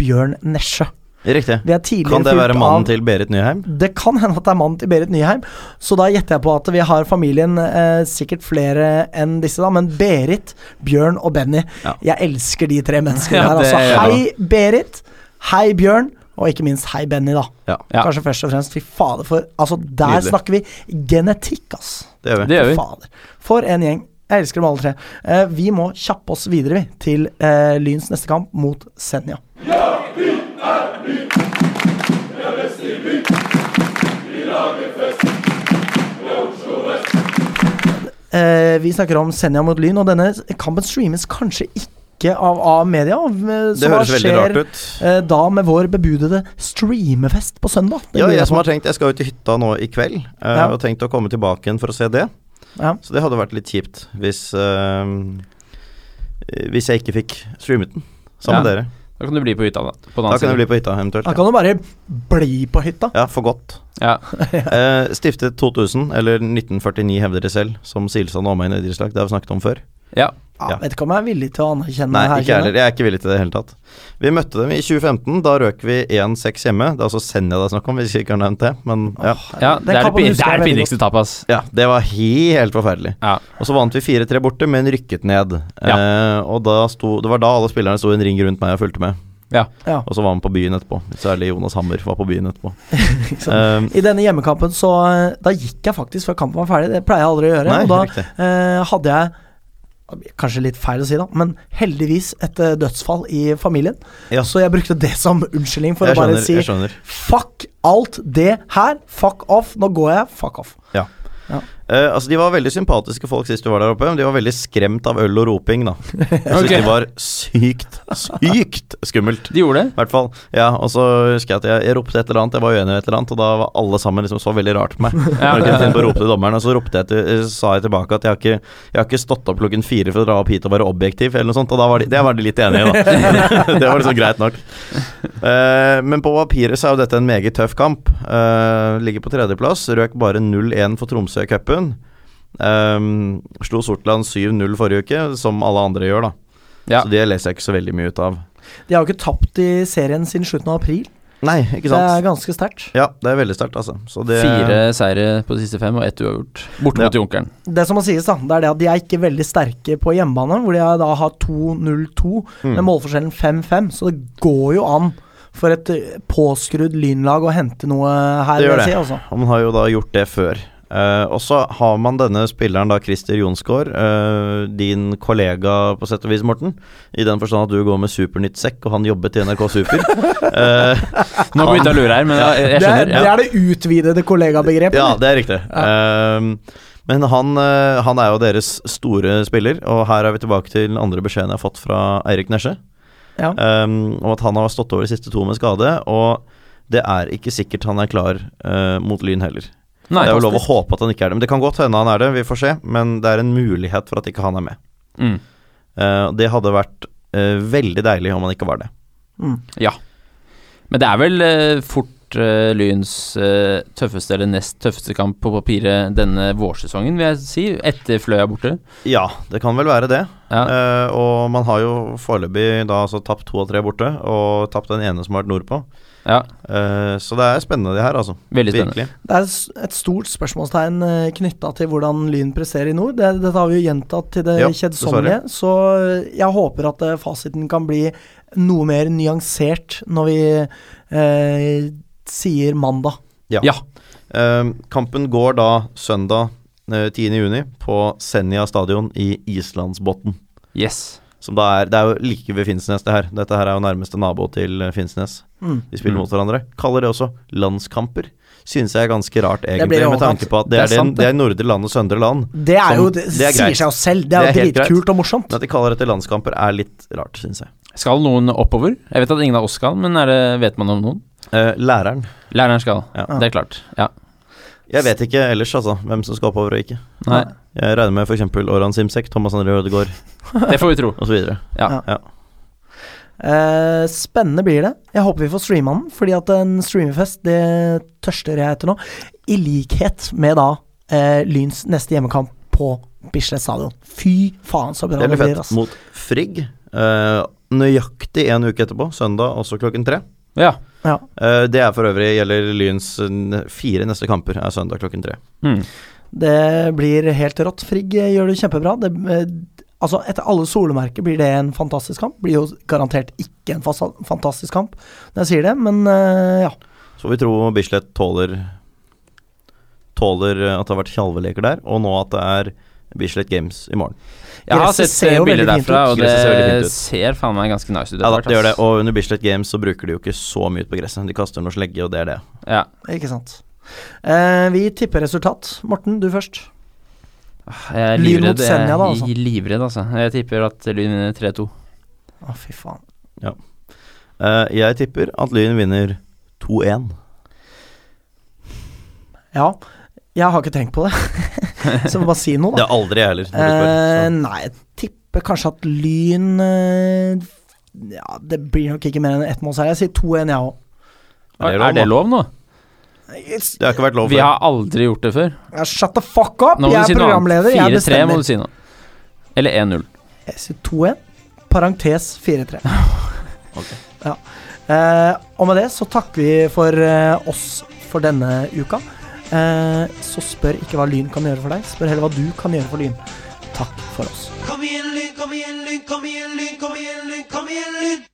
Speaker 2: Bjørn Nesje.
Speaker 1: Riktig.
Speaker 2: Vi er tidligere
Speaker 1: Kan det være
Speaker 2: fulgt
Speaker 1: mannen
Speaker 2: av-
Speaker 1: til Berit Nyheim?
Speaker 2: Det kan hende at det er mannen til Berit Nyheim, så da gjetter jeg på at vi har familien eh, sikkert flere enn disse, da. Men Berit, Bjørn og Benny.
Speaker 1: Ja.
Speaker 2: Jeg elsker de tre menneskene
Speaker 3: Ja,
Speaker 2: her.
Speaker 3: det
Speaker 2: Altså,
Speaker 3: gjør jeg
Speaker 2: hei Berit, hei Bjørn, og ikke minst hei Benny, da.
Speaker 1: Ja,
Speaker 3: Ja.
Speaker 2: Kanskje først og fremst. Fy fader, for altså, der
Speaker 1: Nydelig.
Speaker 2: snakker vi genetikk, ass.
Speaker 1: det gjør vi.
Speaker 3: Det gjør vi.
Speaker 2: Fy fader. For en gjeng. Jeg elsker dem alle tre. Eh, vi må kjappe oss videre, vi, til eh, Lyns neste kamp mot Senja. Eh, vi snakker om Senja mot Lyn, og denne kampen streames kanskje ikke av eh, A-media.
Speaker 1: Det høres veldig rart ut.
Speaker 2: Eh, da med vår bebudede streamefest på søndag. Det
Speaker 1: Ja,
Speaker 2: lurer
Speaker 1: jeg som
Speaker 2: på.
Speaker 1: har tenkt Jeg skal jo til hytta nå i kveld, eh,
Speaker 2: Ja.
Speaker 1: og tenkt å komme tilbake igjen for å se det.
Speaker 2: Ja.
Speaker 1: Så det hadde vært litt kjipt hvis eh, Hvis jeg ikke fikk streamet den sammen med
Speaker 3: Ja.
Speaker 1: dere.
Speaker 3: Da kan du bli på hytta, da. På den
Speaker 1: Da
Speaker 3: andre
Speaker 1: kan jeg
Speaker 3: siden.
Speaker 1: bli på hytta, eventuelt.
Speaker 2: Da
Speaker 1: Ja,
Speaker 2: kan du bare bli på hytta.
Speaker 1: ja for godt.
Speaker 3: Ja.
Speaker 1: Eh, stiftet 2000, eller 1949 hevder de selv, som Silsand og omegn idrettslag. Det har vi snakket om før.
Speaker 3: ja.
Speaker 2: Ja,
Speaker 1: Ja.
Speaker 2: Vet ikke om jeg er villig til å anerkjenne
Speaker 1: Nei,
Speaker 2: det
Speaker 1: ikke
Speaker 2: her.
Speaker 1: jeg
Speaker 2: kjenner
Speaker 1: heller. Jeg er ikke villig til det i det hele tatt. Vi møtte dem i 2015. Da røk vi 1-6 hjemme. Det er altså Senja det er snakk om, hvis jeg ikke har nevnt det. Men ja.
Speaker 3: ja.
Speaker 2: Den
Speaker 3: Det er det,
Speaker 2: kampen
Speaker 3: pin-
Speaker 2: husker jeg
Speaker 3: det er det
Speaker 2: veldig
Speaker 3: pinligste tapet, ass.
Speaker 1: ja, det var helt forferdelig.
Speaker 3: Ja.
Speaker 1: Og så vant vi 4-3 borte, men rykket ned. Eh, og da sto, det var da alle spillerne sto i en ring rundt meg og fulgte med.
Speaker 3: Ja.
Speaker 2: Ja.
Speaker 1: Og så var han på byen etterpå. Særlig Jonas Hammer var på byen etterpå. Eh,
Speaker 2: I denne hjemmekampen så eh, Da gikk jeg faktisk før kampen var ferdig. Det pleier jeg aldri å gjøre.
Speaker 1: Nei,
Speaker 2: og da
Speaker 1: riktig.
Speaker 2: eh, hadde jeg det blir Kanskje litt feil å si, da, men heldigvis et eh, dødsfall i familien.
Speaker 1: Ja.
Speaker 2: Så jeg brukte det som unnskyldning for
Speaker 1: jeg
Speaker 2: å bare
Speaker 1: skjønner.
Speaker 2: si
Speaker 1: jeg skjønner.
Speaker 2: fuck alt det her, fuck off, nå går jeg, fuck off.
Speaker 1: Ja.
Speaker 2: Ja.
Speaker 1: Eh, altså De var veldig sympatiske folk sist du var der oppe, men de var veldig skremt av øl og roping, da. Jeg syns
Speaker 3: Ok.
Speaker 1: det var sykt, sykt skummelt.
Speaker 3: De gjorde det.
Speaker 1: I hvert fall. Ja, og så husker jeg at jeg, jeg ropte et eller annet, jeg var uenig i et eller annet, og da var alle sammen liksom så veldig rart på meg.
Speaker 3: Ja,
Speaker 1: Når jeg
Speaker 3: ja,
Speaker 1: kom inn på og ropte til dommeren, og så ropte jeg til, eh, sa jeg tilbake at jeg har, ikke, jeg har ikke stått opp klokken fire for å dra opp hit og være objektiv, eller noe sånt, og da var de, det var de litt enige i, da. det var liksom greit nok. Eh, men på papiret så er jo dette en meget tøff kamp. Eh, ligger på tredjeplass, røk bare 0-1 for Tromsø i cupen. Um, slo Sortland 7-0 forrige uke, som alle andre gjør, da.
Speaker 3: Ja.
Speaker 1: Så det leser jeg ikke så veldig mye ut av.
Speaker 2: De har jo ikke tapt i serien siden slutten av april.
Speaker 1: Nei, ikke
Speaker 2: Det
Speaker 1: sant.
Speaker 2: er ganske sterkt.
Speaker 1: Ja, det er veldig sterkt, altså. Så det,
Speaker 3: Fire seire på de siste fem og ett uavgjort. Borte
Speaker 1: Ja.
Speaker 3: mot Junkeren.
Speaker 2: Det som må sies, da, det er det at de er ikke veldig sterke på hjemmebane, hvor de er- da har 2-0-2, med
Speaker 1: Mm.
Speaker 2: målforskjellen 5-5, så det går jo an for et eh, påskrudd lynlag å hente noe her.
Speaker 1: Det gjør
Speaker 2: vil
Speaker 1: det.
Speaker 2: jeg Si, altså.
Speaker 1: Og man har jo da gjort det før. Eh, og så har man denne spilleren, da, Christer Jonsgaard, eh, din kollega på sett og vis, Morten. I den forstand at du går med Supernytt-sekk, og han jobbet i NRK Super. Eh,
Speaker 3: Nå begynte jeg å lure her, men jeg, jeg
Speaker 2: det, er,
Speaker 3: skjønner.
Speaker 2: det er det utvidede kollegabegrepet.
Speaker 1: ja, det er riktig. Eh, men han, eh, han er jo deres store spiller, og her er vi tilbake til andre beskjeden jeg har fått fra Eirik Nesje.
Speaker 2: Ja.
Speaker 1: um, om at han har stått over de siste to med skade. Og det er ikke sikkert han er klar eh, mot Lyn heller.
Speaker 3: Nei,
Speaker 1: det er jo lov å håpe at han ikke er det. Men det kan godt hende han er det, vi får se. Men det er en mulighet for at ikke han er med.
Speaker 3: Mm.
Speaker 1: Eh, og det hadde vært eh, veldig deilig om han ikke var det.
Speaker 3: Men det er vel eh, fort eh, Lyns eh, tøffeste eller nest tøffeste kamp på papiret denne vårsesongen, vil jeg si. Etter Fløya borte.
Speaker 1: Ja, det kan vel være det.
Speaker 3: Ja.
Speaker 1: Eh, og man har jo foreløpig da altså tapt to av tre borte, og tapt den ene som har vært nordpå.
Speaker 3: ja.
Speaker 1: Eh, så det er spennende, det her, altså.
Speaker 3: Veldig spennende.
Speaker 1: Virkelig.
Speaker 2: Det er s- et stort spørsmålstegn knytta til hvordan Lyn presterer i nord. Det, dette har vi jo gjentatt til det
Speaker 1: Ja,
Speaker 2: kjedsommelige, så jeg håper at eh, fasiten kan bli noe mer nyansert når vi eh, sier mandag.
Speaker 3: Ja.
Speaker 1: Eh, kampen går da søndag eh, 10. juni på Senja stadion i Islandsbotn.
Speaker 3: Yes.
Speaker 1: Som da er, det er jo like ved Finnsnes, det her. Dette her er jo nærmeste nabo til eh, Finnsnes.
Speaker 2: Mm.
Speaker 1: De spiller
Speaker 3: Mm.
Speaker 1: mot hverandre. Kaller det også landskamper. Synes jeg er ganske rart, egentlig,
Speaker 2: blir i
Speaker 1: med
Speaker 2: overkant.
Speaker 1: tanke på at det er,
Speaker 3: Det er sant,
Speaker 1: det, det er nordre land og søndre land.
Speaker 2: Det er
Speaker 1: Som-
Speaker 2: jo Det,
Speaker 1: Sånn, det er greit.
Speaker 2: sier seg jo selv. Det er,
Speaker 1: Det er helt
Speaker 2: jo
Speaker 1: greit.
Speaker 2: dritkult og morsomt.
Speaker 1: Men at de kaller dette landskamper, er litt rart, synes jeg.
Speaker 3: Skal noen oppover? Jeg vet at ingen av oss skal, men er det, vet man om noen?
Speaker 1: Eh, læreren.
Speaker 3: Læreren skal.
Speaker 1: Ja.
Speaker 3: Det er klart. Ja.
Speaker 1: Jeg vet ikke ellers, altså, hvem som skal oppover og ikke.
Speaker 3: Nei,
Speaker 1: Jeg regner med f.eks. Oran Simsek, Thomas André Ødegaard
Speaker 3: det får vi tro.
Speaker 1: osv.
Speaker 2: Eh, spennende blir det. Jeg håper vi får streama den, fordi at en streamerfest, det tørster jeg etter nå. I likhet med da eh, Lyns neste hjemmekamp på Bislett stadion. Fy faen, så bra
Speaker 1: Det
Speaker 2: det, altså.
Speaker 1: blir
Speaker 2: blir.
Speaker 1: fett.
Speaker 2: Ass.
Speaker 1: Mot Frigg. eh, nøyaktig en uke etterpå, søndag, også klokken tre.
Speaker 3: Ja.
Speaker 2: Ja.
Speaker 1: Eh, det er for øvrig gjelder Lyns eh, fire neste kamper, er søndag klokken tre.
Speaker 3: Mm.
Speaker 2: Det blir helt rått. Frigg eh, gjør det kjempebra. Det, eh, altså, etter alle solemerker blir det en fantastisk kamp. Blir jo garantert ikke en fasa- fantastisk kamp når jeg sier det, men eh, ja.
Speaker 1: Så vi tror Bislett tåler Tåler eh, at det har vært tjalveleker der, og nå at det er Bislett Games i morgen.
Speaker 3: Jeg har
Speaker 2: Gresset
Speaker 3: sett
Speaker 2: ser
Speaker 3: eh,
Speaker 2: jo
Speaker 3: bilder
Speaker 2: veldig fint
Speaker 3: derfra,
Speaker 1: ut.
Speaker 3: og
Speaker 1: Gresset ser veldig fint
Speaker 3: det
Speaker 1: ut.
Speaker 3: ser faen meg ganske nice ut.
Speaker 1: Ja, da,
Speaker 3: etter
Speaker 1: det gjør det,
Speaker 3: hvert, ass.
Speaker 1: og under Bislett Games så bruker de jo ikke så mye ut på gresset. De kaster noe slegge, og det er det.
Speaker 3: Ja.
Speaker 2: Ikke sant. Eh, vi tipper resultat. Morten, du først.
Speaker 3: Jeg er
Speaker 2: Lyn mot
Speaker 3: livredd, jeg
Speaker 2: Senja da, altså.
Speaker 3: er livredd, altså. Jeg tipper at Lyn vinner 3-2.
Speaker 2: Å, fy faen.
Speaker 1: Eh, jeg tipper at Lyn vinner 2-1.
Speaker 2: Ja, jeg har ikke tenkt på det. Så jeg må bare si noe,
Speaker 1: Det
Speaker 2: da.
Speaker 1: er aldri jeg heller. når du
Speaker 2: Eh,
Speaker 1: spør, så.
Speaker 2: nei, jeg tipper kanskje at Lyn eh, Ja, det blir nok ikke mer enn ett mål her. Jeg sier 2-1, jeg òg.
Speaker 1: Er det
Speaker 3: Er
Speaker 1: lov,
Speaker 3: det
Speaker 1: da?
Speaker 3: lov nå?
Speaker 1: Det har ikke vært lov
Speaker 3: Vi
Speaker 1: før.
Speaker 3: har aldri gjort det før.
Speaker 2: Shut the fuck up!
Speaker 3: Nå må
Speaker 2: Jeg
Speaker 3: du
Speaker 2: er
Speaker 3: si noe annet.
Speaker 2: programleder, jeg
Speaker 3: 4-3 må
Speaker 2: bestemmer.
Speaker 3: du si nå. Eller 1-0.
Speaker 2: Jeg sier 2-1, parentes 4-3. ja. eh, og med det så takker vi for eh, oss for denne uka. Eh, så spør ikke hva Lyn kan gjøre for deg, spør heller hva du kan gjøre for Lyn. Takk for oss.
Speaker 7: Kom igjen, lyn, kom igjen, lyn, kom igjen, lyn, kom igjen, lyn, kom igjen, lyn.